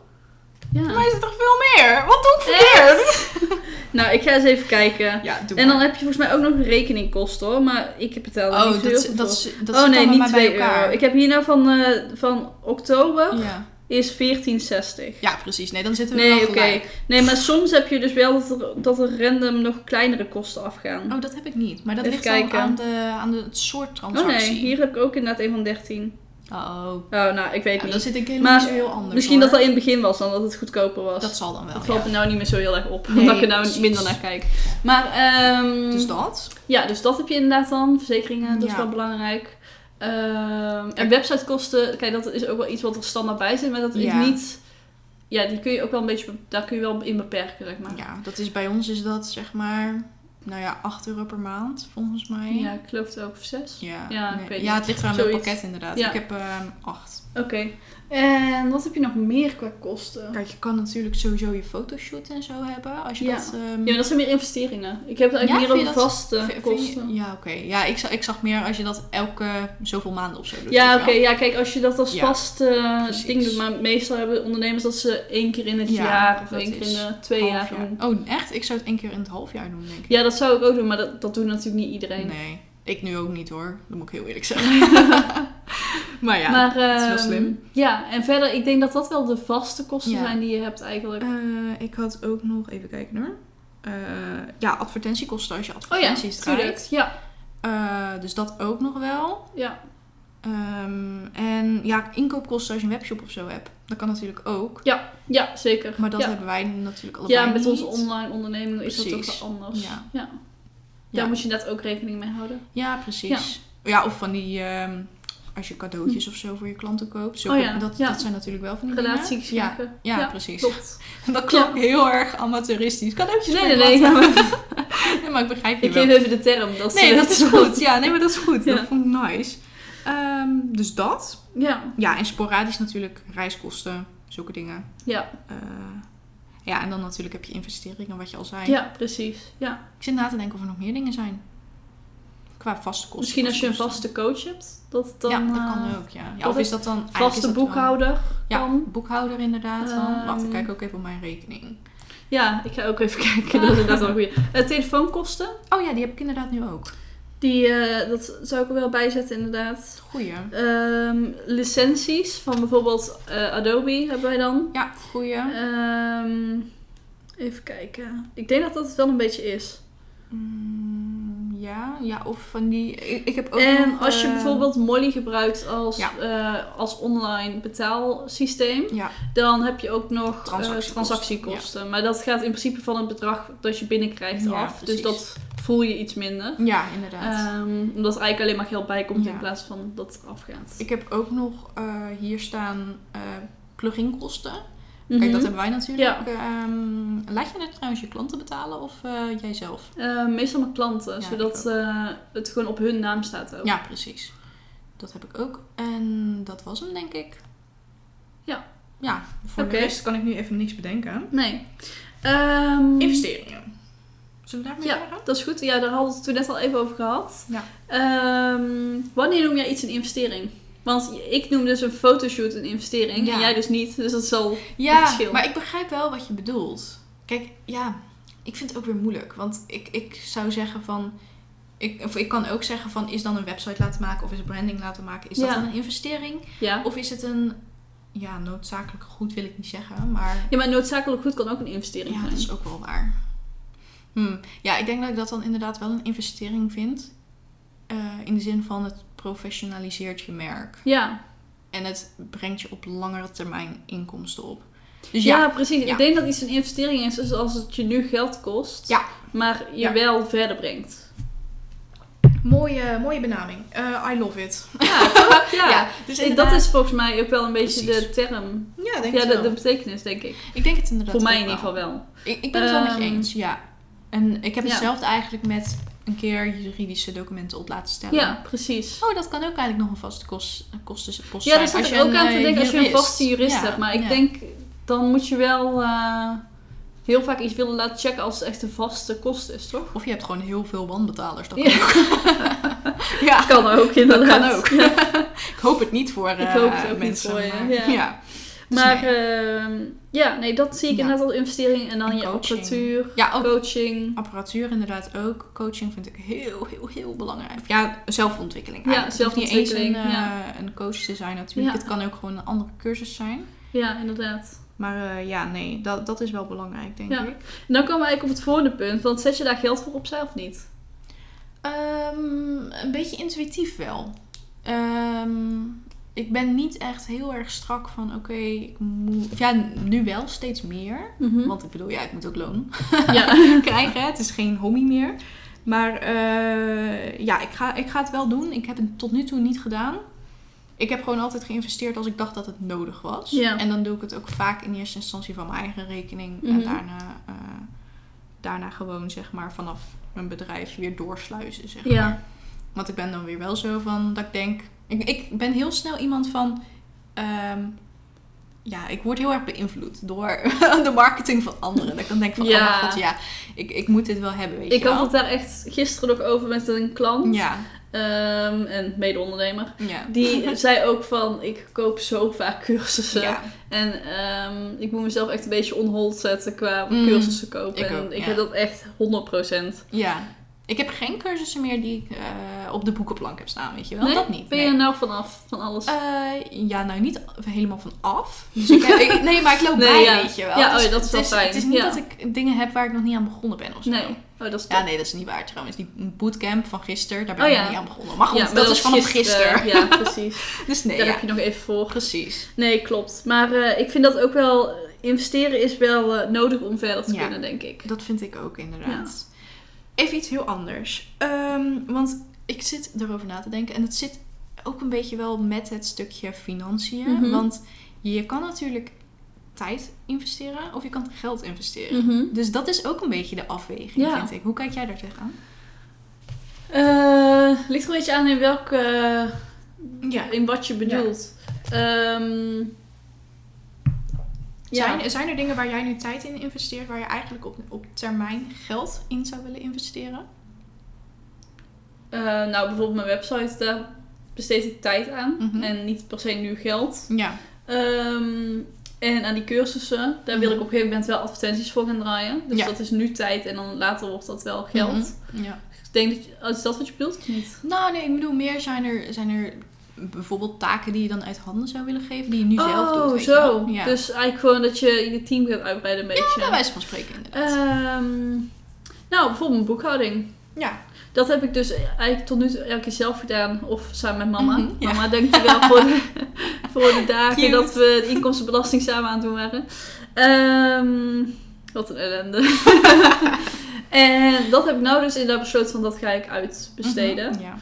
Bij mij
Ja.
is het toch veel meer? Wat doe ik verkeerd?
Nou, ik ga eens even kijken.
Ja, doe
En dan heb je volgens mij ook nog rekeningkosten hoor, maar ik betaal er
Oh,
niet zo heel
dat,
veel
dat,
voor.
is- dat
oh
zit
nee,
allemaal
niet
bij
2
elkaar.
euro. Ik heb hier nou van, eh, van oktober
Ja.
is 14,60.
ja, precies. Nee, dan zitten we
Nee,
wel
oké.
gelijk.
Nee, maar soms heb je dus wel dat er, dat er random nog kleinere kosten afgaan.
Oh, dat heb ik niet. Maar dat
Even
ligt dan
kijken.
aan, de, aan de, het soort
Oh, nee,
transactie.
hier heb ik ook inderdaad een van 13.
Oh,
Oh, nou, ik weet
ja,
niet.
dan zit ik helemaal
Maar
niet zo heel anders.
Misschien
hoor.
dat dat in het begin was, dan dat het goedkoper was.
Dat zal dan wel.
Het valt
ja.
me nou niet meer zo heel erg op,
Nee,
omdat ik er nou
precies.
minder naar kijk. Maar, ehm
Dus dat.
ja, dus dat heb je inderdaad dan. Verzekeringen, dat is
Ja.
wel belangrijk. Ehm, en websitekosten, kijk, dat is ook wel iets wat er standaard bij zit, maar dat is
Ja.
niet... Ja, die kun je ook wel een beetje, be- daar kun je wel in beperken, zeg maar.
Ja, dat is bij ons is dat zeg maar, nou ja, 8 euro per maand volgens mij.
Ja, ik geloof het ook, of zes.
Ja,
Ja,
nee.
ik weet
ja het ligt eraan aan het
Zoiets.
pakket inderdaad.
Ja.
Ik heb ehm acht.
Oké. En wat heb je nog meer qua kosten?
Kijk, je kan natuurlijk sowieso je fotoshoot en zo hebben. Als je
Oh. Ja.
dat...
Ja,
ehm,
maar dat zijn meer investeringen. Ik heb het eigenlijk
Ja,
meer
vind
over
je dat-
vaste
vind- vind je-
kosten.
ja, oké. Ja, ik, zag- ik zag meer als je dat elke zoveel maanden of zo doet.
Ja,
weet
oké.
je wel.
ja, kijk, als je dat als
Ja,
vast eh,
precies.
ding doet. Maar meestal hebben ondernemers dat ze één keer in het
Ja,
jaar of
dat
één keer in
is
de twee jaar
Halfjaar.
doen.
Oh, echt? Ik zou het één keer in het halfjaar doen, denk ik.
Ja, dat zou ik ook doen, maar dat, dat doet natuurlijk niet iedereen.
Nee, ik nu ook niet hoor. Dat moet ik heel eerlijk zeggen. maar ja.
maar,
dat is wel
ehm,
slim.
Ja, en verder, ik denk dat dat wel de vaste kosten
Ja.
zijn die je hebt eigenlijk.
Eh, ik had ook nog... Even kijken hoor. Eh, ja, advertentiekosten als je
oh ja,
advertenties
tuurlijk.
draait.
Ja,
Eh, dus dat ook nog wel.
ja.
Ehm, en ja, inkoopkosten als je een webshop of zo hebt. Dat kan natuurlijk ook.
ja, zeker.
Maar dat
ja.
hebben wij natuurlijk allebei
ja, met
niet.
onze online onderneming is dat toch
Precies.
wel anders.
Ja.
ja.
Ja.
Daar moet je net ook rekening mee houden.
Ja, precies. Ja. of van die... ehm, als je cadeautjes of zo voor je klanten koopt. Zulke-
Hm. Oh ja,
dat,
ja.
dat zijn natuurlijk wel van die dingen.
Relaties
Ja,
maken.
ja, precies.
Klopt.
Dat klonk heel erg amateuristisch. Cadeautjes
Nee,
voor
nee,
je
nee.
klanten.
ja, maar
Nee, maar ik begrijp je
ik
wel.
geef even de term. Dat ze
Nee, dat
weten
is
wat-
goed. Ja, nee, maar dat is goed.
Ja.
Dat vond ik nice. Ehm, dus dat.
Ja,
Ja, en sporadisch natuurlijk reiskosten. Zulke dingen.
ja,
Eh, ja, en dan natuurlijk heb je investeringen, wat je al zei.
ja, precies. Ja.
Ik zit na te denken of er nog meer dingen zijn. Qua vaste kosten.
Misschien als je een vaste coach hebt, dat dan
Ja, dat
eh,
kan ook, ja. ja
dat
of is
is
dat dan... eigenlijk is
vaste
dat wel-
boekhouder
Ja,
kan.
boekhouder inderdaad dan. Wacht, ik
Ehm.
kijk ook even op mijn rekening.
Ja, ik ga ook even kijken. Dat is inderdaad wel goed. telefoonkosten,
Oh ja, die heb ik inderdaad nu ook.
die, eh, dat zou ik er wel bij zetten inderdaad.
Goeie.
Ehm, licenties van bijvoorbeeld eh, Adobe hebben wij dan.
Ja, goeie.
Ehm, even kijken. Ik denk dat dat het wel een beetje is.
Mm, ja, ja, of van die... Ik, ik heb ook
en
nog,
Ehm, als je
eh,
bijvoorbeeld Molly gebruikt als,
Ja.
eh, als online betaalsysteem,
Ja,
dan heb je ook nog eh,
Transactiekosten,
transactiekosten. Maar dat gaat in principe van het bedrag dat je binnenkrijgt
Ja,
af. Dus
precies.
dat voel je iets minder.
ja inderdaad.
Ehm, omdat eigenlijk alleen maar geld bijkomt in
Ja.
plaats van dat het afgaat.
ik heb ook nog eh, hier staan eh plug-in kosten. Kijk,
Mhm.
dat hebben wij natuurlijk. Ehm, laat je dat trouwens je klanten betalen of eh jijzelf?
Eh, meestal met klanten,
Ja,
zodat
ik ook.
eh, het gewoon op hun naam staat ook.
Ja, precies. Dat heb ik ook. En dat was hem, denk ik.
Ja.
Ja, voor
Oké. Mhm.
de rest kan ik nu even niks bedenken.
Nee. Ehm,
Investeringen. Zullen we daarmee
Ja,
doorgaan?
dat is goed. Ja, daar hadden we het toen net al even over gehad.
Ja.
Ehm, wanneer noem jij iets een investering? Want ik noem dus een fotoshoot een investering
Ja.
en jij dus niet. Dus dat zal... Het
Ja,
verschil.
maar ik begrijp wel wat je bedoelt. Kijk, ja, ik vind het ook weer moeilijk. Want ik, ik zou zeggen van... Ik, of ik kan ook zeggen van, is dan een website laten maken of is branding laten maken? Is
Ja.
dat dan een investering?
Ja.
Of is het een ja, noodzakelijk goed wil ik niet zeggen, maar
Ja, maar noodzakelijk goed kan ook een investering
ja, dat
zijn.
is ook wel waar. Hm, Ja, ik denk dat ik dat dan inderdaad wel een investering vind. Eh, in de zin van het professionaliseert je merk.
Ja.
En het brengt je op langere termijn inkomsten op. Dus
Ja,
ja,
precies.
Ja.
Ik denk dat iets een investering is dus als het je nu geld kost,
Ja.
maar je
Ja.
wel verder brengt.
mooie, mooie benaming. Eh, I love it.
Ja, toch? Ja.
dus
Dat
inderdaad-
is volgens mij ook wel een beetje
Precies.
de term.
Ja, denk
Ja,
het
de,
wel.
de betekenis, denk ik.
Ik denk het inderdaad
Voor mij
ook
in ieder geval wel.
Ik, ik ben het wel met je
Ehm,
eens, ja. En ik heb
ja.
hetzelfde eigenlijk met een keer juridische documenten op laten stellen.
Ja, precies.
Oh, dat kan ook eigenlijk nog een vaste kost, kostenpost
Ja,
zijn.
daar zat
Als
ik
je
ook
een,
aan te
eh,
denken als je een
jurist-
vaste jurist
Ja,
hebt. Maar ik
ja.
denk, dan moet je wel eh, heel vaak iets willen laten checken als het echt een vaste kost is, toch?
Of je hebt gewoon heel veel wanbetalers. Dat
Ja.
kan ook. ja,
Kan ook,
dat
inderdaad.
kan ook. ik hoop het niet voor eh,
hoop het ook niet
mensen.
voor je,
maar-
ja.
ja. Dus
Maar
nee.
ehm, ja, nee, dat zie ik
Ja.
inderdaad als investering. En dan
En
je
coaching. Oh.
apparatuur,
ja, ook
coaching.
apparatuur inderdaad ook. Coaching vind ik heel, heel, heel belangrijk. Ja, zelfontwikkeling.
Ja,
eigenlijk. Het hoeft Niet eens een,
zelfontwikkeling,
eh, een coach te zijn natuurlijk.
Ja.
Het kan ook gewoon een andere cursus zijn.
Ja, inderdaad.
Maar eh, ja, nee, dat, dat is wel belangrijk, denk
Ja.
ik.
En dan komen we eigenlijk op het volgende punt. Want zet je daar geld voor opzij of niet?
Ehm, een beetje intuïtief wel. Ehm, ik ben niet echt heel erg strak van, oké, ik moet... Ja, nu wel, steeds meer. Want ik bedoel, ja, ik moet ook loon
Mhm. ja.
krijgen. Het is geen hobby meer. Maar eh, ja, ik ga, ik ga het wel doen. Ik heb het tot nu toe niet gedaan. Ik heb gewoon altijd geïnvesteerd als ik dacht dat het nodig was.
Ja.
En dan doe ik het ook vaak in eerste instantie van mijn eigen rekening.
Mhm.
En daarna, eh, daarna gewoon zeg maar vanaf mijn bedrijf weer doorsluizen. Zeg maar.
ja.
Want ik ben dan weer wel zo van dat ik denk. Ik, ik ben heel snel iemand van. ehm, ja, ik word heel erg beïnvloed door de marketing van anderen. Dat ik dan denk van,
Ja.
oh mijn god, ja, ik, ik moet dit wel hebben, weet
Ik
je
had
wel.
het daar echt gisteren nog over met een klant.
Ja,
ehm, en mede-ondernemer.
ja.
Die zei ook van, ik koop zo vaak cursussen.
ja.
En ehm, ik moet mezelf echt een beetje on hold zetten qua
Mm.
cursussen kopen.
Ik
en
ook,
ik
ja.
heb dat echt 100%.
ja. Ik heb geen cursussen meer die ik eh, op de boekenplank heb staan, weet je wel.
Nee?
Dat niet.
Ben
nee.
je er nou vanaf van alles?
Eh, ja, nou niet helemaal van af. Dus ik heb- ik- nee, maar ik loop
Nee,
bij,
ja.
weet je wel.
Ja,
Dus
oh ja, dat is wel
het
fijn,
Het is niet
ja.
dat ik dingen heb waar ik nog niet aan begonnen ben of zo.
nee. Oh, dat is
Ja,
top.
nee, dat is niet waar trouwens. Die bootcamp van gisteren, daar ben ik
Oh,
nog
ja.
niet aan begonnen. Maar goed,
Ja,
dat,
maar
is vanaf gisteren.
Ja, precies.
Dus nee,
Daar
ja.
heb je nog even voor.
precies.
Nee, klopt. Maar eh, ik vind dat ook wel... Investeren is wel eh, nodig om verder te
Ja.
kunnen, denk ik.
Dat vind ik ook inderdaad. Even iets heel anders. Ehm, want ik zit erover na te denken. En het zit ook een beetje wel met het stukje financiën.
Mhm.
Want je kan natuurlijk tijd investeren of je kan geld investeren.
Mhm.
Dus dat is ook een beetje de afweging,
Ja.
vind ik. Hoe kijk jij daar tegenaan?
Eh, ligt er een beetje aan in welke... eh,
Ja.
in wat je bedoelt. Ehm, ja.
Zijn, zijn er dingen waar jij nu tijd in investeert, waar je eigenlijk op, op termijn geld in zou willen investeren?
Eh, nou, bijvoorbeeld mijn website, daar besteed ik tijd aan.
Mhm.
En niet per se nu geld.
Ja.
Ehm, en aan die cursussen, daar wil ik op een gegeven moment wel advertenties voor gaan draaien. Dus
Mhm. Ja. Mhm.
dat is nu tijd en dan later wordt dat wel geld.
ja.
Ik denk dat, je- oh, is dat wat je bedoelt of niet?
Nou, nee, ik bedoel, meer zijn er, zijn er bijvoorbeeld taken die je dan uit handen zou willen geven, die je nu zelf doet.
oh,
weet je
zo.
wel? Ja.
Dus eigenlijk gewoon dat je je team gaat uitbreiden een beetje.
bij wijze van spreken, inderdaad.
Ehm, nou, bijvoorbeeld mijn boekhouding.
ja.
Dat heb ik dus eigenlijk tot nu toe elke keer zelf gedaan. Of samen met mama.
Mhm, ja.
Mama, dankjewel voor de, voor de dagen
Cute.
dat we de inkomstenbelasting samen aan het doen waren. Ehm, wat een ellende. en dat heb ik nou dus inderdaad besloten van dat ga ik uitbesteden.
Mhm, Ja.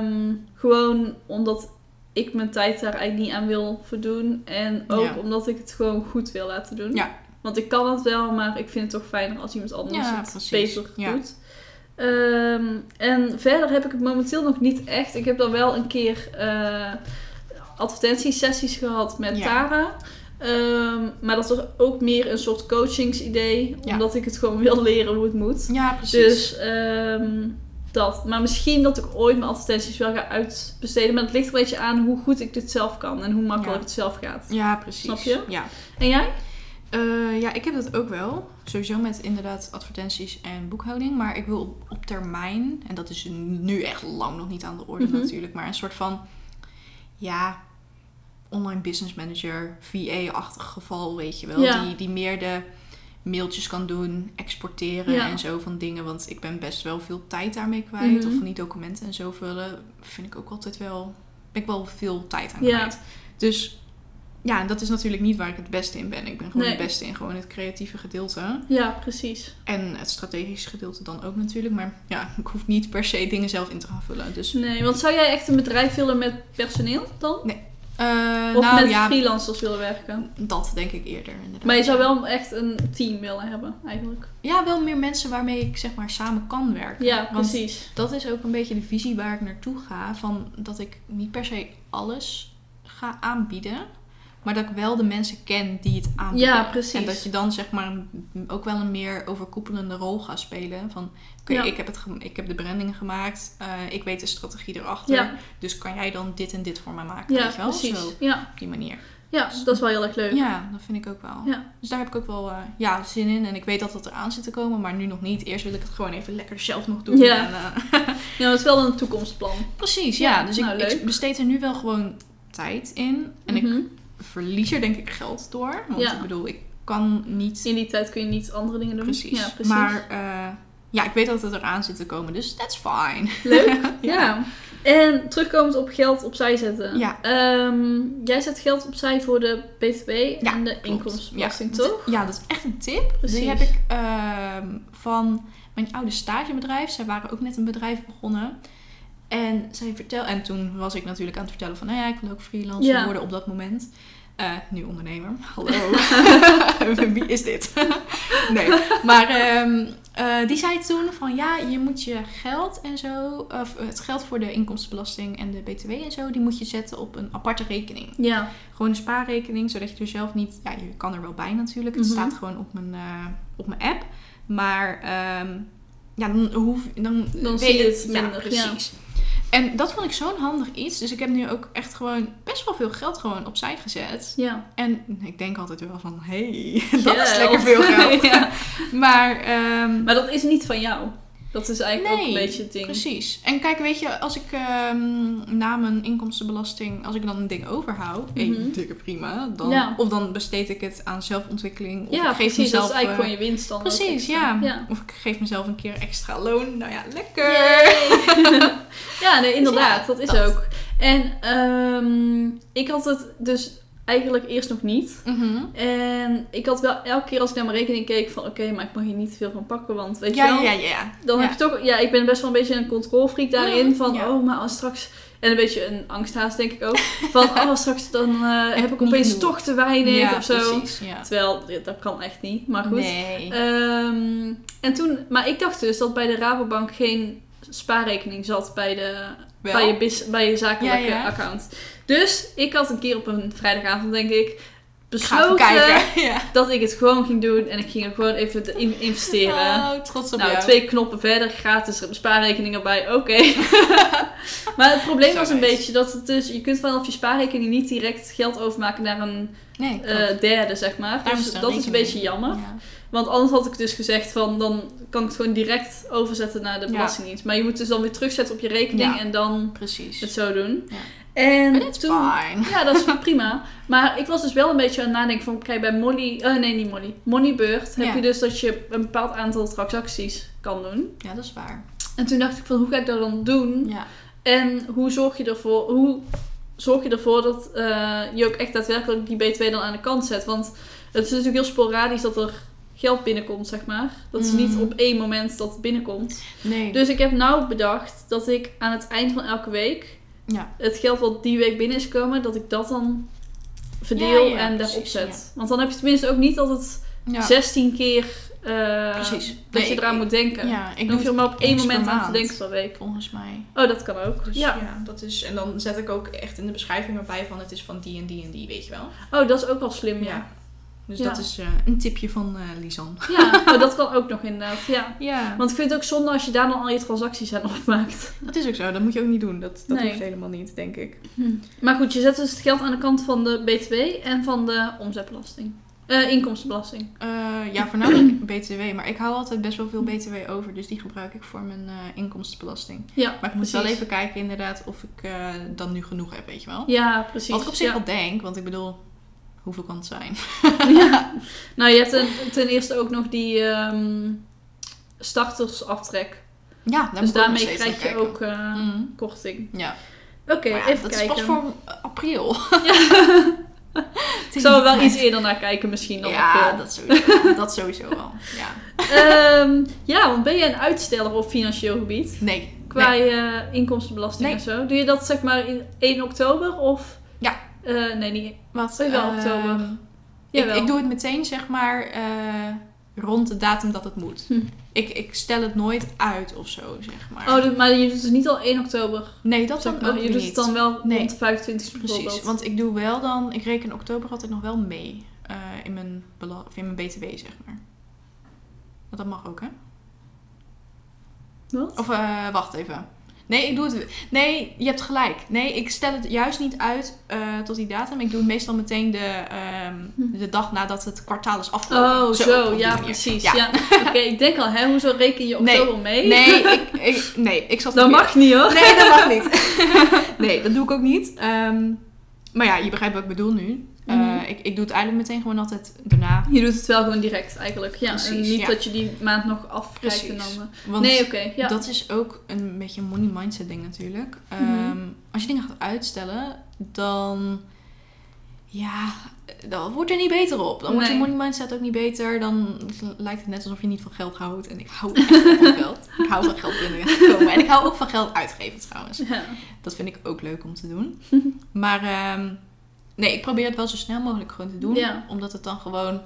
Ehm, gewoon omdat ik mijn tijd daar eigenlijk niet aan wil verdoen. En ook
Ja.
omdat ik het gewoon goed wil laten doen.
Ja.
Want ik kan het wel, maar ik vind het toch fijner als iemand anders
Ja,
het
precies.
beter
Ja.
doet. Ehm, en verder heb ik het momenteel nog niet echt. Ik heb dan wel een keer eh, advertentiesessies gehad met
Ja.
Tara. Ehm, maar dat was ook meer een soort coachingsidee.
Ja.
Omdat ik het gewoon wil leren hoe het moet.
ja, precies.
Dus ehm, dat. Maar misschien dat ik ooit mijn advertenties wel ga uitbesteden. Maar het ligt een beetje aan hoe goed ik dit zelf kan en hoe makkelijk
Ja.
het zelf gaat.
ja, precies.
Snap je?
Ja.
En jij?
Eh, ja, ik heb dat ook wel. Sowieso met inderdaad advertenties en boekhouding. Maar ik wil op, op termijn, en dat is nu echt lang nog niet aan de orde
Mhm.
natuurlijk, maar een soort van, ja, online business manager, VA-achtig geval, weet je wel.
Ja.
Die, die meer de mailtjes kan doen, exporteren
Ja.
en zo van dingen. Want ik ben best wel veel tijd daarmee kwijt.
Mhm.
Of van die documenten en zo vullen vind ik ook altijd wel... Ben ik wel veel tijd aan
Ja.
kwijt. Dus ja, en dat is natuurlijk niet waar ik het beste in ben. Ik ben gewoon
Nee.
het beste in gewoon het creatieve gedeelte.
Ja, precies.
En het strategische gedeelte dan ook natuurlijk. Maar ja, ik hoef niet per se dingen zelf in te gaan vullen. Dus
Nee, want zou jij echt een bedrijf willen met personeel dan?
eh,
Of
nou
met
ja,
freelancers willen werken?
dat denk ik eerder inderdaad.
Maar je zou wel echt een team willen hebben, eigenlijk.
Ja, wel meer mensen waarmee ik zeg maar samen kan werken.
Ja,
Want
precies.
dat is ook een beetje de visie waar ik naartoe ga. Van dat ik niet per se alles ga aanbieden. Maar dat ik wel de mensen ken die het aanbieden.
Ja, precies.
En dat je dan zeg maar een- ook wel een meer overkoepelende rol gaat spelen. Van oké,
Ja.
ik, heb het gem- ik heb de branding gemaakt. eh, ik weet de strategie erachter.
Ja.
Dus kan jij dan dit en dit voor mij maken?
Ja,
weet je wel?
precies.
Zo,
Ja.
op die manier.
ja, dat is wel heel erg leuk.
Ja, dat vind ik ook wel.
Ja.
Dus daar heb ik ook wel eh, ja, zin in. En ik weet dat dat eraan zit te komen, maar nu nog niet. Eerst wil ik het gewoon even lekker zelf nog doen.
Ja.
En, eh,
Ja, dat is wel een toekomstplan.
precies, ja.
Ja,
Dus ik,
nou,
ik
leuk.
besteed er nu wel gewoon tijd in. En
Mhm.
ik verlies er denk ik geld door. Want
Ja.
ik bedoel, ik kan niet...
In die tijd kun je niet andere dingen doen.
Precies.
Ja, precies.
Maar eh, ja, ik weet dat het eraan zit te komen, dus that's fine.
Leuk. ja. En terugkomend op geld opzij zetten.
Ja.
Ehm, jij zet geld opzij voor de BTW
Ja,
en de
Klopt.
inkomstenbelasting,
ja.
toch?
Ja, dat is echt een tip.
Precies.
Die heb ik ehm, van mijn oude stagebedrijf. Zij waren ook net een bedrijf begonnen. En, zij vertel, en toen was ik natuurlijk aan het vertellen van... Nou ja, ik wil ook freelancer
Ja.
worden op dat moment. Eh, nu ondernemer. Hallo. Wie is dit? nee. Maar ehm, eh, die zei toen van... Ja, je moet je geld en zo... Of het geld voor de inkomstenbelasting en de btw en zo... Die moet je zetten op een aparte rekening
Ja.
gewoon een spaarrekening, zodat je er zelf niet. Ja, je kan er wel bij natuurlijk. Het
Mhm.
staat gewoon op mijn, eh, op mijn app. Maar ehm, ja, dan hoef dan,
Dan
weet
zie je het
ja,
minder, ja.
precies. En dat vond ik zo'n handig iets. Dus ik heb nu ook echt gewoon best wel veel geld gewoon opzij gezet.
Ja.
En ik denk altijd wel van, hey, dat is
Geld.
lekker veel geld.
Ja.
Maar, ehm,
Maar dat is niet van jou. Dat is eigenlijk ook
Nee,
een beetje het ding.
Precies. En kijk, weet je, als ik ehm, na mijn inkomstenbelasting, als ik dan een ding overhoud, één
Mhm.
dikke prima, dan,
Ja.
of dan besteed ik het aan zelfontwikkeling. Of
Ja,
ik geef
precies.
mezelf,
dat is eigenlijk
eh,
gewoon je winst dan. ook
Precies,
extra.
ja.
ja.
Of ik geef mezelf een keer extra loon. Nou ja, lekker.
Yay! ja, nee, inderdaad.
ja,
dat is
dat.
ook. En ehm, ik had het dus eigenlijk eerst nog niet.
Mhm.
En ik had wel elke keer als ik naar mijn rekening keek van... Oké, maar ik mag hier niet te veel van pakken, want weet
Ja,
je
ja, ja,
wel...
ja.
Dan
Ja.
heb je toch... Ja, ik ben best wel een beetje een controlfreak daarin.
Mhm,
van,
ja.
oh, maar als straks... En een beetje een angsthaas, denk ik ook. Van, oh, straks dan eh, heb ik
Niet
opeens
genoeg.
toch te weinig
ja,
of zo.
precies. Ja.
Terwijl, ja, dat kan echt niet. Maar goed. Eh,
Nee.
Ehm, en toen, maar ik dacht dus dat bij de Rabobank geen spaarrekening zat bij, de,
Wel?
bij, je, bis- bij je zakelijke
Ja, ja.
account. Dus ik had een keer op een vrijdagavond, denk ik,
Ik ga even
besloten
kijken. Ja.
dat ik het gewoon ging doen en ik ging er gewoon even in investeren.
Oh, trots op
nou,
jou.
twee knoppen verder, gratis spaarrekening erbij, oké. maar het probleem
Zo
was een
nice.
beetje dat het dus, je kunt vanaf je spaarrekening niet direct geld overmaken naar een
Nee,
eh,
klopt.
derde, zeg maar.
Daarom
Dus
er
dat is een
rekening.
beetje jammer.
Ja.
Want anders had ik dus gezegd van dan kan ik het gewoon direct overzetten naar de
Ja.
Belastingdienst. Maar je moet dus dan weer terugzetten op je rekening
Ja.
en dan
Precies.
het zo doen.
Ja. But
En
it's
toen.
fine.
Ja, dat is prima. Maar ik was dus wel een beetje aan het nadenken van kijk bij Molly. eh, nee, niet Molly. Moneybird heb
Ja.
je dus dat je een bepaald aantal transacties kan doen.
Ja, dat is waar.
En toen dacht ik van hoe ga ik dat dan doen?
Ja.
En hoe zorg je ervoor, hoe zorg je ervoor dat eh, je ook echt daadwerkelijk die B2 dan aan de kant zet? Want het is natuurlijk heel sporadisch dat er geld binnenkomt, zeg maar. Dat is
Mm.
niet op één moment dat het binnenkomt.
Nee.
Dus ik heb nou bedacht dat ik aan het eind van elke week
ja.
het geld wat die week binnen is gekomen, dat ik dat dan verdeel
Ja, ja,
en daarop
precies,
zet. Want dan heb je tenminste ook niet dat het
ja.
16 keer eh,
Precies.
dat
Nee,
je
ik-
eraan moet denken.
Ja, ik
Dan hoef je er maar op één
eens per
moment aan te
maand.
denken per week.
volgens mij.
Oh, dat kan ook.
Dus
ja.
ja. dat is. En dan zet ik ook echt in de beschrijving erbij van het is van die en die en die, weet je wel.
Oh, dat is ook wel slim, ja.
Dus
Ja.
dat is eh, een tipje van eh Lisan.
Ja, oh, dat kan ook nog inderdaad. Ja.
Ja.
Want ik vind het ook zonde als je daar dan al je transacties aan opmaakt.
Dat is ook zo. Dat moet je ook niet doen. Dat, dat
Nee.
hoeft helemaal niet, denk ik.
Maar goed, je zet dus het geld aan de kant van de BTW en van de omzetbelasting. Eh, inkomstenbelasting.
Eh, ja, voornamelijk BTW. Maar ik hou altijd best wel veel BTW over. Dus die gebruik ik voor mijn eh, inkomstenbelasting.
Ja,
Maar ik moet wel
precies.
even kijken inderdaad of ik eh, dan nu genoeg heb, weet je wel.
Ja, precies.
Wat ik op zich
ja.
wel denk, want ik bedoel, hoeveel kan het zijn?
Ja. Nou, je hebt ten, ten eerste ook nog die ehm, startersaftrek.
Ja, daar
dus
moet ik nog
daarmee
steeds
krijg
naar
je
kijken.
ook eh,
Mhm.
korting.
Ja,
Oké,
Maar ja,
even
dat
kijken.
is pas voor eh, april.
Ik zal er wel iets eerder naar kijken misschien dan eh,
Ja,
april.
dat sowieso, dat sowieso wel. Ja.
Ehm, ja, want ben jij een uitsteller op financieel gebied?
Nee.
Qua
nee.
je inkomstenbelasting
Nee.
en zo. Doe je dat zeg maar in 1 oktober of...
Ja.
Eh, nee, niet...
Wat?
Oh, wel
eh,
oktober.
ik,
Jawel.
ik doe het meteen, zeg maar, eh, rond de datum dat het moet.
Hm.
Ik, ik stel het nooit uit of zo, zeg maar.
Oh, dus- maar je doet het niet al 1 oktober.
nee, dat
zeg
dan
maar.
ook
Je
weer
doet
niet.
het dan wel
Nee.
rond 25
Precies,
bijvoorbeeld.
want ik doe wel dan... Ik reken oktober altijd nog wel mee eh, in, mijn bela- of in mijn btw, zeg maar. Want dat mag ook, hè?
Wat?
Of eh, wacht even. Nee, ik doe het. Nee, je hebt gelijk. Nee, ik stel het juist niet uit eh, tot die datum. Ik doe het meestal meteen de, ehm,
Hm.
de dag nadat het kwartaal is afgelopen.
Oh, zo,
op die
ja,
manier.
precies.
Ja.
Ja. Oké, ik denk al, hè, hoezo reken je
Nee,
oktober mee?
Nee, ik, ik, nee, ik zat
dat
verkeerd.
mag niet hoor.
Nee, dat mag niet. nee, dat doe ik ook niet. Ehm, maar ja, je begrijpt wat ik bedoel nu. Eh,
Mhm.
ik, ik doe het eigenlijk meteen gewoon altijd daarna.
Je doet het wel gewoon direct eigenlijk. Ja, en
Precies,
niet
ja.
dat je die maand nog afkrijgt en
Precies.
dan... eh.
Want
nee, oké. ja.
dat is ook een beetje een money mindset ding natuurlijk. Ehm,
Mhm.
Als je dingen gaat uitstellen, dan... Ja, dan wordt er niet beter op. Dan wordt je
Nee.
money mindset ook niet beter. Dan lijkt het net alsof je niet van geld houdt. En ik hou echt wel van geld. Ik hou van geld binnenkomen. En ik hou ook van geld uitgeven trouwens.
Ja.
Dat vind ik ook leuk om te doen. maar ehm, nee, ik probeer het wel zo snel mogelijk gewoon te doen.
Ja.
Omdat het dan gewoon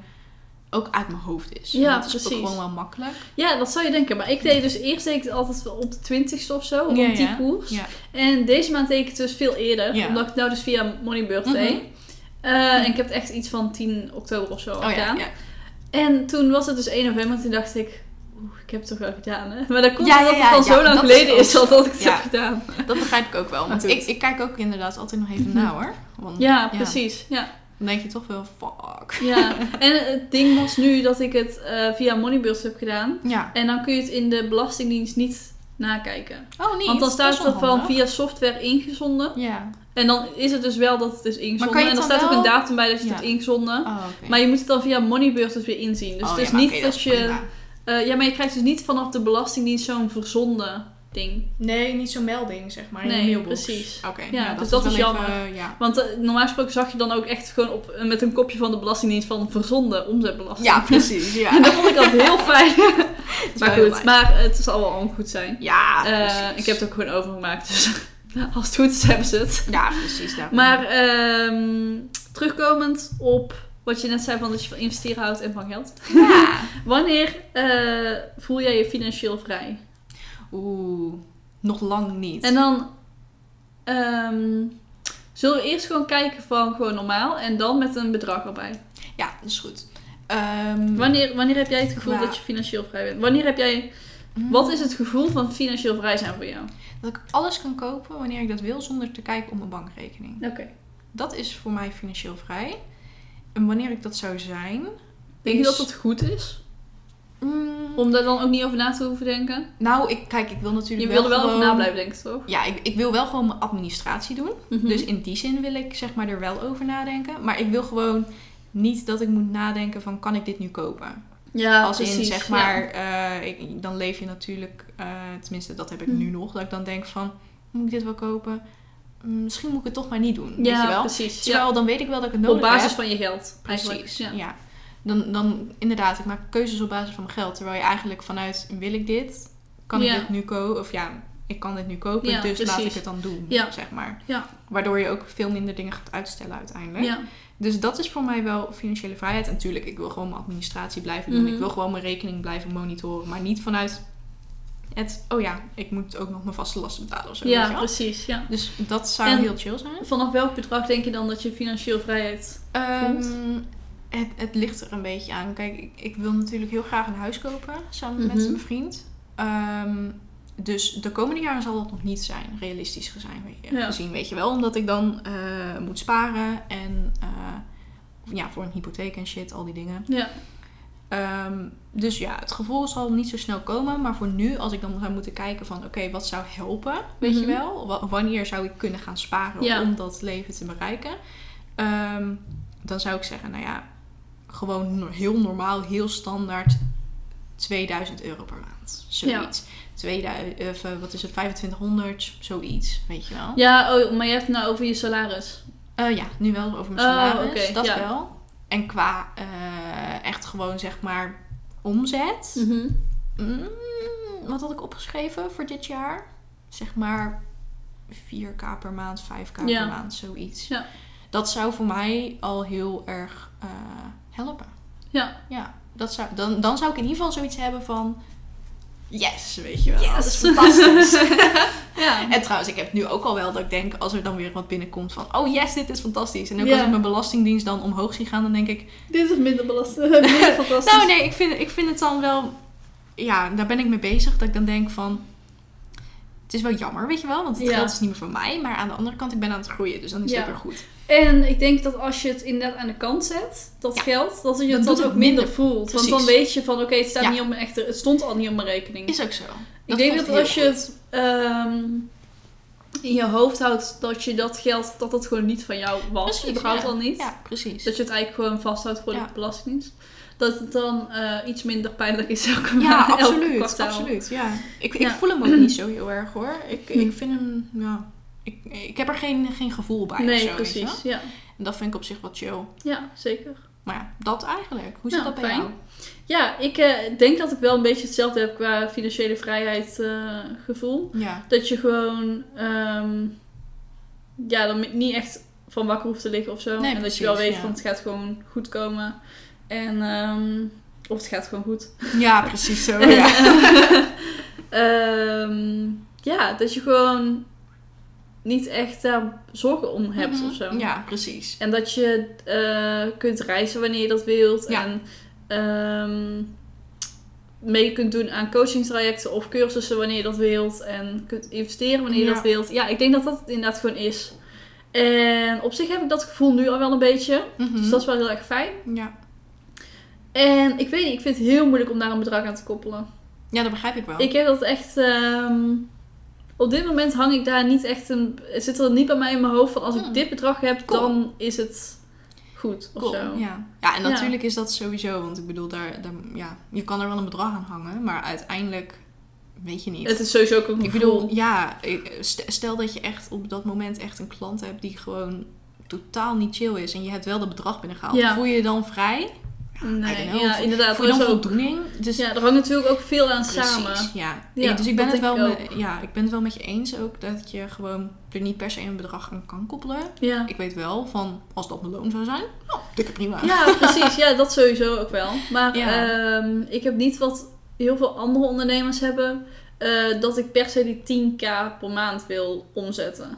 ook uit mijn hoofd is.
Ja,
En dat is ook
precies.
gewoon wel makkelijk.
Ja, dat zou je denken. Maar ik deed dus eerst deed ik het altijd wel op de 20ste of zo, rond
Ja,
die
ja.
koers.
Ja.
En deze maand deed ik het dus veel eerder,
Ja.
omdat ik het nou dus via Moneybird deed.
Mhm.
Eh, en ik heb het echt iets van 10 oktober of zo al
Oh ja,
gedaan.
ja.
En toen was het dus 1 november en toen dacht ik, oeh, ik heb het toch wel gedaan hè. Maar dat komt
Ja,
omdat
ja,
het al
ja, ja,
zo lang
dat
geleden
is
is al dat ik het
Ja.
heb gedaan.
dat begrijp ik ook wel. Want ik,
Natuurlijk.
ik kijk ook inderdaad altijd nog even na hoor. Want
Mhm. Ja, precies. Ja.
Dan denk je toch wel, fuck.
Ja. en het ding was nu dat ik het eh, via Moneybird heb gedaan.
Ja.
En dan kun je het in de Belastingdienst niet nakijken.
Oh, niet.
Want dan
Dat
staat
is
het
wel
er van
handig.
via software ingezonden.
Ja.
En dan is het dus wel dat het is
Maar
ingezonden.
kan je
en
het
dan
dan
staat ook een
wel-
datum bij dat je het
Ja.
hebt ingezonden.
Oh, oké.
Maar je moet het dan via Moneybird dus weer inzien. Dus
Oh,
het
ja,
is
maar
niet
oké,
dat,
is
je...
prima.
Eh, ja, maar je krijgt dus niet vanaf de Belastingdienst zo'n verzonden ding.
Nee, niet zo'n melding zeg maar. in
Nee,
je mailbox.
precies.
Oké,
Ja,
ja,
dus dat
wel
is
even,
jammer.
ja.
Want eh, normaal gesproken zag je dan ook echt gewoon op, eh, met een kopje van de Belastingdienst van verzonden omzetbelasting.
ja, precies.
En
Ja,
dat vond ik altijd heel fijn. maar
wel heel
goed,
fijn.
maar het zal wel allemaal goed zijn.
ja
Eh,
precies.
ik heb het ook gewoon overgemaakt, dus als het goed is hebben ze het.
Ja, precies. Daarom.
Maar ehm, terugkomend op wat je net zei van dat je van investeren houdt en van geld.
Ja.
Wanneer eh, voel jij je financieel vrij?
Oeh, nog lang niet.
En dan ehm, zullen we eerst gewoon kijken van gewoon normaal en dan met een bedrag erbij.
Ja, dat is goed. Ehm,
Wanneer, wanneer heb jij het gevoel
Qua-
dat je financieel vrij bent? Wanneer heb jij,
Mm.
wat is het gevoel van financieel vrij zijn voor jou?
Dat ik alles kan kopen wanneer ik dat wil zonder te kijken op mijn bankrekening.
Oké.
Dat is voor mij financieel vrij. En wanneer ik dat zou zijn.
Denk je
is-
dat dat goed is?
Mm,
Om daar dan ook niet over na te hoeven denken?
nou, ik, kijk, ik wil
Je
natuurlijk
wil er wel over
gewoon-
na blijven denken, toch?
Ja, ik, ik wil wel gewoon mijn administratie doen.
Mhm.
Dus in die zin wil ik zeg maar er wel over nadenken. Maar ik wil gewoon niet dat ik moet nadenken van kan ik dit nu kopen?
ja,
Als in,
precies,
zeg
ja.
maar, eh, ik, dan leef je natuurlijk, eh, tenminste dat heb ik
Hm.
nu nog, dat ik dan denk van, moet ik dit wel kopen? Mm, Misschien moet ik het toch maar niet doen,
Ja,
weet je wel?
precies. Ja.
Terwijl dan weet ik wel dat ik het nodig
Op basis
heb.
van je geld. eigenlijk.
Precies, ja.
Ja.
Dan, dan inderdaad, ik maak keuzes op basis van mijn geld. Terwijl je eigenlijk vanuit, wil ik dit? Kan
Ja.
ik dit nu kopen? Of ja, ik kan dit nu kopen,
Ja,
dus laat ik
precies.
het dan doen,
Ja.
zeg maar.
Ja.
Waardoor je ook veel minder dingen gaat uitstellen uiteindelijk.
Ja.
Dus dat is voor mij wel financiële vrijheid. En natuurlijk, ik wil gewoon mijn administratie blijven doen.
Mhm.
Ik wil gewoon mijn rekening blijven monitoren. Maar niet vanuit het, oh ja, ik moet ook nog mijn vaste lasten betalen of zo. weet je
ja,
wel.
precies. Ja.
Dus dat zou
En-
heel chill zijn.
Vanaf welk bedrag denk je dan dat je financieel vrijheid...
Ehm, het, het ligt er een beetje aan. Kijk, ik, ik wil natuurlijk heel graag een huis kopen samen met
Mhm.
mijn vriend. Ehm, dus de komende jaren zal dat nog niet zijn, realistisch gezien,
Ja.
gezien weet je wel. Omdat ik dan eh, moet sparen en eh, Of ja, voor een hypotheek en shit, al die dingen.
Ja.
Ehm, dus ja, het gevoel zal niet zo snel komen. Maar voor nu, als ik dan zou moeten kijken van... Oké, wat zou helpen, weet
Mhm.
je wel? Wa- wanneer zou ik kunnen gaan sparen
Ja.
om dat leven te bereiken? Ehm, dan zou ik zeggen, nou ja... Gewoon no- heel normaal, heel standaard... 2000 euro per maand. Zoiets. 2000, of, eh, wat is het, 2500, zoiets, weet je wel.
Ja, oh, maar je hebt het nou over je salaris.
Eh, ja, nu wel over mijn
Oh,
salaris.
oké,
dat
ja.
wel. En qua eh, echt gewoon zeg maar
Mhm.
omzet. Mm, wat had ik opgeschreven voor dit jaar? Zeg maar 4k per maand, 5k
Ja.
per maand, zoiets.
Ja.
Dat zou voor mij al heel erg eh, helpen.
Ja.
Ja, dat zou, dan, dan zou ik in ieder geval zoiets hebben van... Yes, weet je wel.
Yes.
Dat is fantastisch.
Ja.
En trouwens, ik heb nu ook al wel dat ik denk, als er dan weer wat binnenkomt van, oh yes, dit is fantastisch. En ook
Ja.
als ik mijn belastingdienst dan omhoog zie gaan, dan denk ik,
Dit is minder belastend. minder fantastisch.
nou nee, ik vind, ik vind het dan wel, ja, daar ben ik mee bezig. Dat ik dan denk van, het is wel jammer, weet je wel, want het
Ja.
geld is niet meer van mij. Maar aan de andere kant, ik ben aan het groeien, dus dan is
Ja.
het ook weer goed.
En ik denk dat als je het inderdaad aan de kant zet, dat
Ja.
geld, dat je
Dan
het
doet
dan
het
ook minder,
minder.
voelt.
Precies.
Want dan weet je van, oké, het staat
Ja.
niet op mijn echte, het stond al niet op mijn rekening.
Is ook zo.
ik denk
voelt
dat
heel
als je
goed.
het ehm, in je hoofd houdt, dat je dat geld, dat dat gewoon niet van jou was,
Precies,
überhaupt
ja.
al niet. Dus
Ja, precies.
Dat je het eigenlijk gewoon vasthoudt voor
Ja.
de belastingdienst. Dat het dan eh, iets minder pijnlijk is elke
Ja,
maand, elke
absoluut.
kwartaal.
absoluut ja. Ik, ik
Ja.
voel hem ook niet zo heel erg hoor. Ik,
Hm.
ik vind hem, ja, ik, ik heb er geen, geen gevoel bij. of zo,
Nee,
weet je wel.
precies. Ja.
En dat vind ik op zich wel chill.
ja, zeker.
Maar ja, dat eigenlijk. Hoe zit
Nou,
dat bij
fijn.
jou?
Ja, ik eh, denk dat ik wel een beetje hetzelfde heb qua financiële vrijheid eh, gevoel.
Ja.
Dat je gewoon ehm, ja, dan niet echt van wakker hoeft te liggen of zo.
Nee,
en dat
precies,
je wel weet
ja.
van het gaat gewoon goed komen. En, ehm, of het gaat gewoon goed.
ja, precies zo. Ja.
Ehm, ja, dat je gewoon niet echt daar zorgen om hebt
Mhm.
of zo.
Ja, precies.
En dat je eh, kunt reizen wanneer je dat wilt.
Ja.
En ehm, mee kunt doen aan coachingstrajecten of cursussen wanneer je dat wilt. En kunt investeren wanneer je
Ja.
dat wilt. Ja, ik denk dat dat het inderdaad gewoon is. En op zich heb ik dat gevoel nu al wel een beetje.
Mhm.
Dus dat is wel heel erg fijn.
ja.
En ik weet niet, ik vind het heel moeilijk om daar een bedrag aan te koppelen.
ja, dat begrijp ik wel.
Ik heb dat echt... ehm, op dit moment hang ik daar niet echt een... Zit er niet bij mij in mijn hoofd van als ik
Hmm.
dit bedrag heb,
Cool.
dan is het goed of
Cool,
zo.
Ja. ja, en
Ja.
natuurlijk is dat sowieso. Want ik bedoel, daar, daar, ja, je kan er wel een bedrag aan hangen. Maar uiteindelijk weet je niet.
Het is sowieso ook een
ik bedoel, ja, ik- st- stel dat je echt op dat moment echt een klant hebt die gewoon totaal niet chill is. En je hebt wel dat bedrag binnengehaald.
Ja.
Voel je je dan vrij?
nee,
I don't know.
ja, inderdaad.
Voel je
er
dan
is ook-
voldoening? Dus
ja, er hangt natuurlijk ook veel aan samen.
Precies, ja.
Ja,
Ik- dus ik ben,
dat
het wel
denk ik
me- ja, ik ben het wel met je eens ook dat je gewoon er niet per se een bedrag aan kan koppelen.
Ja.
Ik weet wel van, als dat mijn loon zou zijn, nou, dikke prima.
ja, precies. Ja, dat sowieso ook wel. Maar
Ja.
ehm, ik heb niet wat heel veel andere ondernemers hebben. eh, dat ik per se die 10k per maand wil omzetten.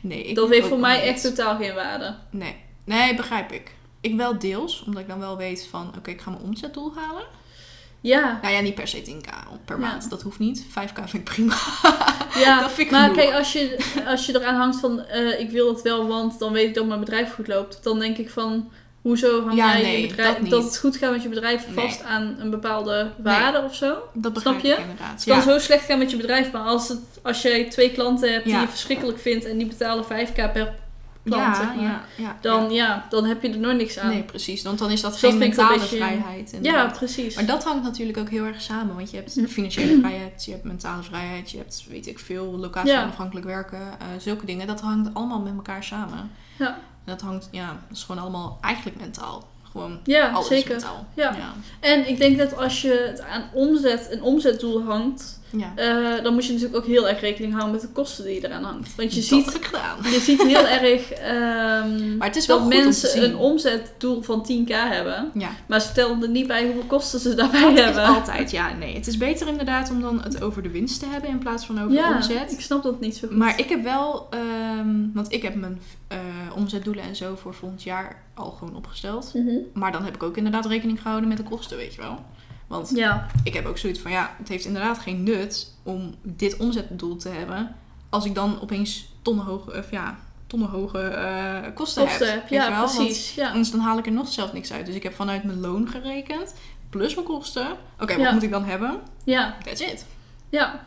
Nee, ik
dat heeft
ook
voor
wel
mij
niet.
echt totaal geen waarde.
Nee. nee, begrijp ik. Ik wel deels, omdat ik dan wel weet van, oké, ik ga mijn omzetdoel halen.
Ja,
Nou ja, niet per se 10k op per
Ja.
maand, dat hoeft niet. 5k vind ik prima.
ja.
dat vind ik
maar
genoeg.
kijk, als je, als je eraan hangt van eh, ik wil dat wel, want dan weet ik dat mijn bedrijf goed loopt. Dan denk ik van hoezo hang
Ja,
jij
nee,
je bedrijf
dat
dat,
niet.
het goed gaat met je bedrijf
Nee.
vast aan een bepaalde waarde of zo?
Dat
Snap
begrijp
je?
ik inderdaad.
Het kan
Ja.
zo slecht gaan met je bedrijf, maar als, het, als jij twee klanten hebt die
Ja.
je verschrikkelijk vindt en die betalen 5k per klant,
ja,
zeg maar,
ja, ja,
dan, ja. dan heb je er nooit niks
ja.
aan.
Nee, precies. Want dan is dat
Dus dat
geen
vind ik wel
mentale
een beetje-
vrijheid.
ja,
inderdaad.
precies.
Maar dat hangt natuurlijk ook heel erg samen. Want je hebt financiële vrijheid, je hebt mentale vrijheid, je hebt weet ik veel, locatie
Ja.
onafhankelijk werken, eh, zulke dingen. Dat hangt allemaal met elkaar samen.
Ja.
En dat hangt, ja, dat is gewoon allemaal eigenlijk mentaal. Gewoon
ja,
alles
zeker.
mentaal.
Ja.
ja.
En ik denk dat als je het aan omzet, een omzetdoel hangt,
Ja.
eh, dan moet je natuurlijk ook heel erg rekening houden met de kosten die je eraan hangt. Want je
Dat
ziet
heb ik gedaan.
Je ziet heel erg ehm,
Maar het is wel
dat
goed om te
mensen
zien.
een omzetdoel van 10k hebben.
Ja,
Maar ze vertellen er niet bij hoeveel kosten ze daarbij
dat
hebben.
is altijd. Ja, nee. Het is beter inderdaad om dan het over de winst te hebben in plaats van over de
ja,
omzet.
ik snap dat niet zo goed.
Maar ik heb wel, ehm, want ik heb mijn eh, omzetdoelen en zo voor volgend jaar al gewoon opgesteld.
Mhm.
Maar dan heb ik ook inderdaad rekening gehouden met de kosten, weet je wel. Want
Ja,
ik heb ook zoiets van, ja, het heeft inderdaad geen nut om dit omzetdoel te hebben. Als ik dan opeens tonnen hoog, of ja, tonnen hoge eh, kosten,
Kosten
hebt.
heb,
weet je
ja,
wel? Want
precies. Ja.
Anders dan haal ik er nog zelf niks uit. Dus ik heb vanuit mijn loon gerekend. Plus mijn kosten. Oké, wat
Ja.
moet ik dan hebben?
Ja,
That's it.
ja.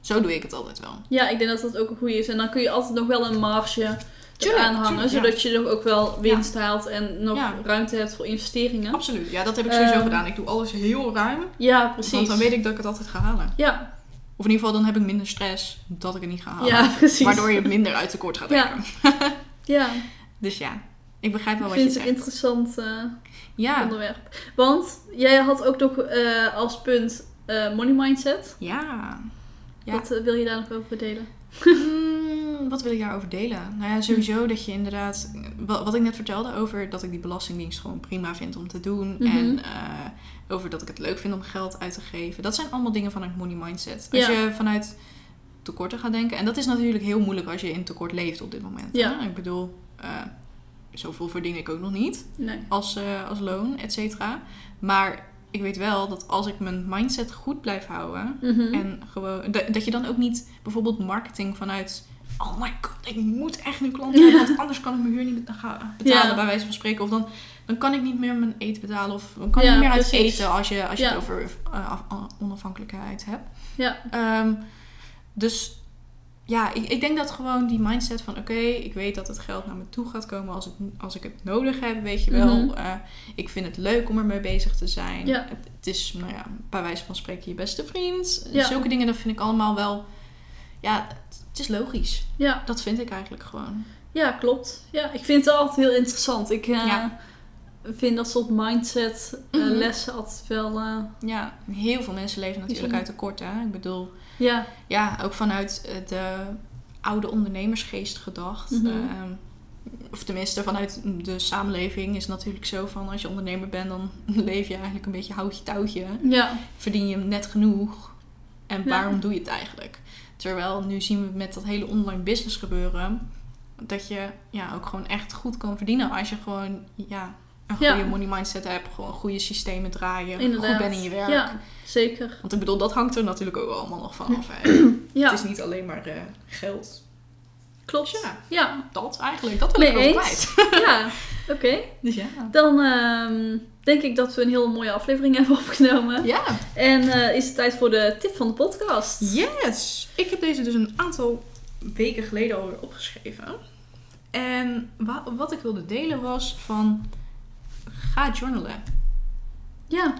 Zo doe ik het altijd wel.
ja, ik denk dat dat ook een goede is. En dan kun je altijd nog wel een marge
Tuurlijk,
aan hangen,
tuurlijk, ja.
zodat je er ook wel winst haalt en nog
Ja.
ruimte hebt voor investeringen.
Absoluut. Ja, dat heb ik sowieso
Ehm,
gedaan. Ik doe alles heel ruim.
Ja, precies.
Want dan weet ik dat ik het altijd ga halen.
Ja,
Of in ieder geval, dan heb ik minder stress dat ik het niet ga halen.
ja precies.
Ah. Waardoor je minder uit tekort gaat
Ja.
denken.
Ja,
Dus ja, ik begrijp wel
ik
wat je
vind het een
zegt.
interessant eh,
Ja,
onderwerp. Want jij had ook nog eh, als punt eh, money mindset.
ja. Ja.
Wat eh, wil je daar nog over delen?
Hmm, wat wil ik daarover delen? Nou ja, sowieso
Hmm.
dat je inderdaad... wa- Wat ik net vertelde over dat ik die belastingdienst gewoon prima vind om te doen.
Mhm.
En eh, over dat ik het leuk vind om geld uit te geven. Dat zijn allemaal dingen vanuit money mindset. Als
Ja.
je vanuit tekorten gaat denken. En dat is natuurlijk heel moeilijk als je in tekort leeft op dit moment.
Ja.
hè? Ik bedoel, eh, zoveel verdien ik ook nog niet.
Nee.
als, eh, als loon, et cetera. Maar ik weet wel dat als ik mijn mindset goed blijf houden.
Mhm.
En gewoon, dat, dat je dan ook niet bijvoorbeeld marketing vanuit. Oh my god, ik moet echt een klant hebben. Want anders kan ik mijn huur niet beta- ga- betalen,
Ja.
bij wijze van spreken. Of dan, dan kan ik niet meer mijn eten betalen. Of dan kan ik
Ja,
niet meer uit
precies.
eten als je, als je
Ja.
het over eh, af- onafhankelijkheid hebt.
Ja,
Ehm, dus ja, ik, ik denk dat gewoon die mindset van oké, ik weet dat het geld naar me toe gaat komen als, het, als ik het nodig heb, weet je wel.
Mhm.
Eh, ik vind het leuk om ermee bezig te zijn.
Ja.
Het, het is, nou ja, bij wijze van spreken je beste vriend.
Ja.
Zulke dingen, dat vind ik allemaal wel, ja, het, het is logisch.
ja,
Dat vind ik eigenlijk gewoon.
ja, klopt. Ja, ik vind het altijd heel interessant. Ik eh,
Ja.
vind dat soort mindset eh,
Mhm.
lessen altijd wel... eh,
Ja, heel veel mensen leven natuurlijk
Bijzonder.
uit tekort, hè. Ik bedoel,
ja,
ja, ook vanuit eh, de oude ondernemersgeest gedacht.
Mhm.
Ehm, of tenminste, vanuit de samenleving is het natuurlijk zo van als je ondernemer bent, dan leef je eigenlijk een beetje houtje touwtje.
ja,
Verdien je net genoeg. En
Ja.
waarom doe je het eigenlijk? Terwijl nu zien we met dat hele online business gebeuren. Dat je ja, ook gewoon echt goed kan verdienen als je gewoon ja, een
Ja.
goede money mindset hebt. Gewoon goede systemen draaien.
inderdaad.
Goed bent in je werk.
Ja, zeker.
Want ik bedoel, dat hangt er natuurlijk ook allemaal nog van af. hè.
Ja,
Het is niet alleen maar eh, geld.
klopt.
Dus ja,
Ja,
dat eigenlijk. Dat wil
Mee
ik wel
eens.
kwijt.
ja. oké.
Dus ja.
Dan ehm, denk ik dat we een hele mooie aflevering hebben opgenomen.
Ja,
En eh, is het tijd voor de tip van de podcast.
yes! Ik heb deze dus een aantal weken geleden alweer opgeschreven. En wa- wat ik wilde delen was van... Ga journalen.
Ja,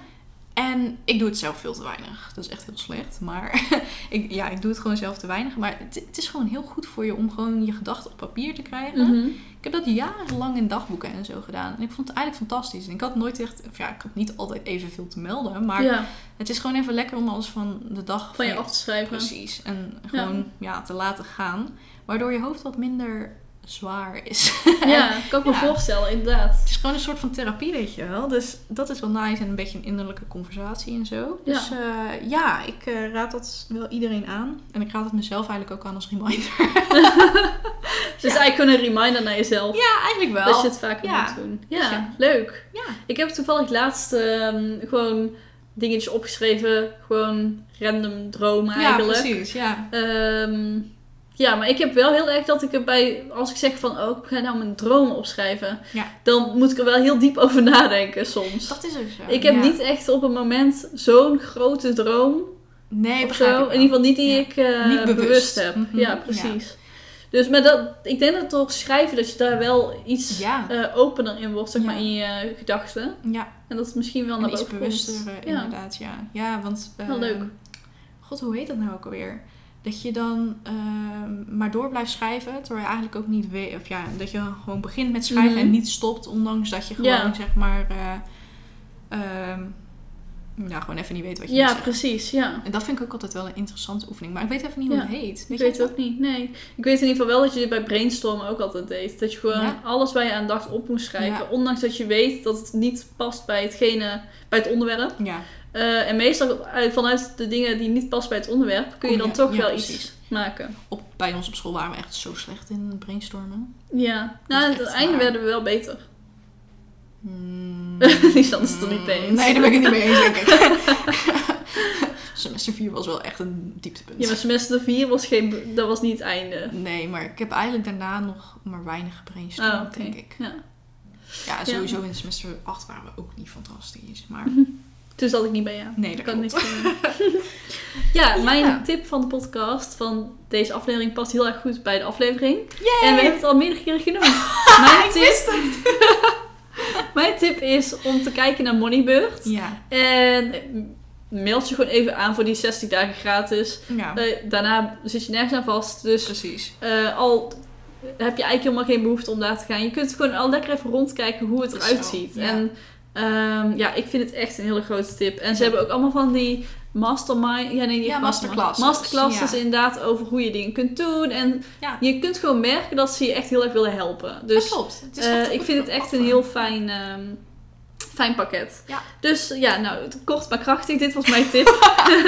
En ik doe het zelf veel te weinig. Dat is echt heel slecht. Maar ik, ja, ik doe het gewoon zelf te weinig. Maar het, het is gewoon heel goed voor je om gewoon je gedachten op papier te krijgen.
mhm.
Ik heb dat jarenlang in dagboeken en zo gedaan. En ik vond het eigenlijk fantastisch. En ik had nooit echt... Of ja, ik had niet altijd evenveel te melden. Maar
ja
het is gewoon even lekker om alles van de dag...
van je af te schrijven.
Precies. En gewoon ja. te laten gaan. Waardoor je hoofd wat minder zwaar is.
Ja, kan ik me
Ja.
voorstellen, inderdaad.
Het is gewoon een soort van therapie, weet je wel. Dus dat is wel nice. En een beetje een innerlijke conversatie en zo.
Ja.
Dus eh, ja, ik eh, raad dat wel iedereen aan. En ik raad het mezelf eigenlijk ook aan als reminder.
Het is eigenlijk gewoon een reminder naar jezelf.
ja, eigenlijk wel.
Dat je het vaker
Ja.
moet doen. Ja,
Dus ja.
leuk.
Ja.
Ik heb toevallig laatst ehm, gewoon dingetjes opgeschreven. Gewoon random dromen
Ja,
eigenlijk.
precies. Ja.
Ehm, ja, maar ik heb wel heel erg dat ik er bij, als ik zeg van, oh, ik ga nou mijn dromen opschrijven,
Ja.
dan moet ik er wel heel diep over nadenken soms.
Dat is ook zo.
ik heb
ja.
niet echt op een moment zo'n grote droom
Nee,
of
begrijp ik
zo. In
wel.
ieder geval niet die
Ja.
ik eh,
Niet bewust.
bewust. heb.
Mhm.
Ja, precies. Dus maar dat, ik denk dat door schrijven dat je daar wel iets
Ja.
eh, opener in wordt, zeg
Ja.
maar, in je eh, gedachten.
Ja.
En dat het misschien wel naar
En iets
boven komt.
bewuster, eh,
Ja.
inderdaad, ja. Ja, want... eh,
Wel leuk.
God, hoe heet dat nou ook alweer? Dat je dan eh, maar door blijft schrijven, terwijl je eigenlijk ook niet weet... Of ja, dat je gewoon begint met schrijven
Mhm.
en niet stopt, ondanks dat je gewoon,
Ja.
zeg maar... eh, ehm, nou, gewoon even niet weet wat je moet
Ja,
zeggen.
precies, ja.
En dat vind ik ook altijd wel een interessante oefening. Maar ik weet even niet hoe
Ja.
het heet.
Ik
jij
weet het
dat?
ook niet, nee. Ik weet in ieder geval wel dat je dit bij brainstormen ook altijd deed. Dat je gewoon
Ja.
alles waar je aan dacht op moest schrijven.
Ja.
Ondanks dat je weet dat het niet past bij hetgene, bij het onderwerp.
Ja,
Eh, en meestal uit- vanuit de dingen die niet past bij het onderwerp, kun
Kom
je dan
je-
toch
Oh ja,
wel iets
precies.
maken.
op, bij ons op school waren we echt zo slecht in brainstormen.
Ja,
Dat is
nou, aan het
echt
einde
waar.
werden we wel beter.
Hmm. Mm.
Die stand is het er niet mee eens.
Nee, daar ben ik het niet mee eens, denk ik. Semester 4 was wel echt een dieptepunt.
Ja, maar semester 4 was, geen, dat was niet het einde.
Nee, maar ik heb eigenlijk daarna nog maar weinig gebrainstormd,
Oh, oké.
denk ik.
Ja.
Ja, sowieso in semester 8 waren we ook niet fantastisch. Maar
Toen zat ik niet bij jou.
nee,
Ik
dat
kan
kan
niks
niet.
doen. ja, mijn
Ja.
tip van de podcast van deze aflevering past heel erg goed bij de aflevering. En
En
we
we-
hebben het al meerdere keren genoemd. Mijn tip, mijn tip is om te kijken naar Moneybird.
Ja.
En meld je gewoon even aan voor die 60 dagen gratis.
ja,
Eh, daarna zit je nergens aan vast. Dus
precies.
eh, al heb je eigenlijk helemaal geen behoefte om daar te gaan. Je kunt gewoon al lekker even rondkijken hoe het
Zo,
eruit ziet.
ja.
En ehm, ja, ik vind het echt een hele grote tip. En ze
Ja.
hebben ook allemaal van die mastermind... Ja, nee, niet
Ja,
mastermind.
masterclasses.
Masterclasses
Ja.
inderdaad over hoe je dingen kunt doen. En
Ja.
je kunt gewoon merken dat ze je echt heel erg willen helpen. Dus
dat klopt. Het is
eh,
echt
ik vind het echt een heel fijn... ehm, Fijn pakket.
Ja.
Dus ja, nou, kort maar krachtig. Dit was mijn tip.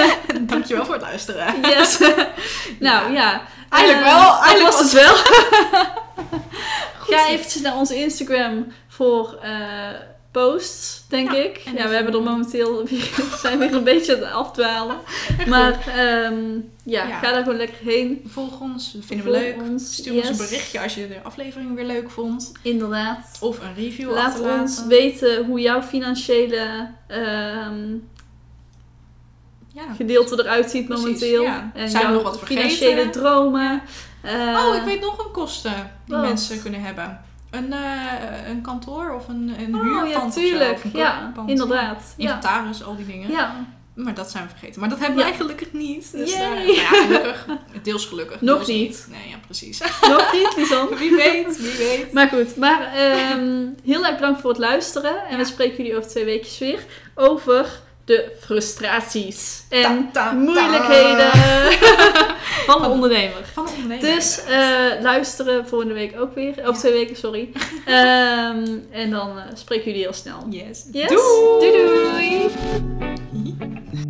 Dankjewel voor het luisteren.
Yes. nou ja.
Eigenlijk
Eh,
wel.
dat
Eigenlijk was
was het wel. Ga eventjes naar onze Instagram voor eh, posts, denk
Ja,
ik.
en
Ja, we
even-
hebben er momenteel weer, zijn weer een beetje aan het afdwalen. Maar ehm, ja,
Ja.
ga daar gewoon lekker heen.
Volg ons, vinden we
Volg
leuk.
ons,
Stuur
yes.
ons een berichtje als je de aflevering weer leuk vond.
Inderdaad.
Of een review
Laat
achterlaten.
ons weten hoe jouw financiële ehm,
Ja.
gedeelte eruit ziet
Precies,
momenteel.
ja.
En
Zijn we
jouw
nog wat vergeten?
financiële dromen. Eh,
Oh, ik weet nog een kosten die
wat?
mensen kunnen hebben. Een, eh, een kantoor of een, een
Oh,
huurpand
ja,
of zo,
tuurlijk.
of een
Ja,
kooppand.
inderdaad. Ja.
Inventaris, al die dingen.
ja.
Maar dat zijn we vergeten. Maar dat hebben we
Ja.
eigenlijk gelukkig niet. Dus
Yay.
eh, maar ja, gelukkig. Deels gelukkig.
Nog
deels
niet.
Nee, ja, precies.
Nog niet, Lisanne.
Wie weet, wie weet.
Maar goed, maar ehm, heel erg bedankt voor het luisteren. En we
Ja.
spreken jullie over twee weekjes weer over de frustraties en
Ta, ta, ta.
moeilijkheden van de ondernemer.
Van de ondernemer.
Dus eh, luisteren volgende week ook weer. Over twee weken, sorry. Ehm, en dan eh, spreken jullie heel snel.
Yes.
Yes?
Doei.
doei! doei.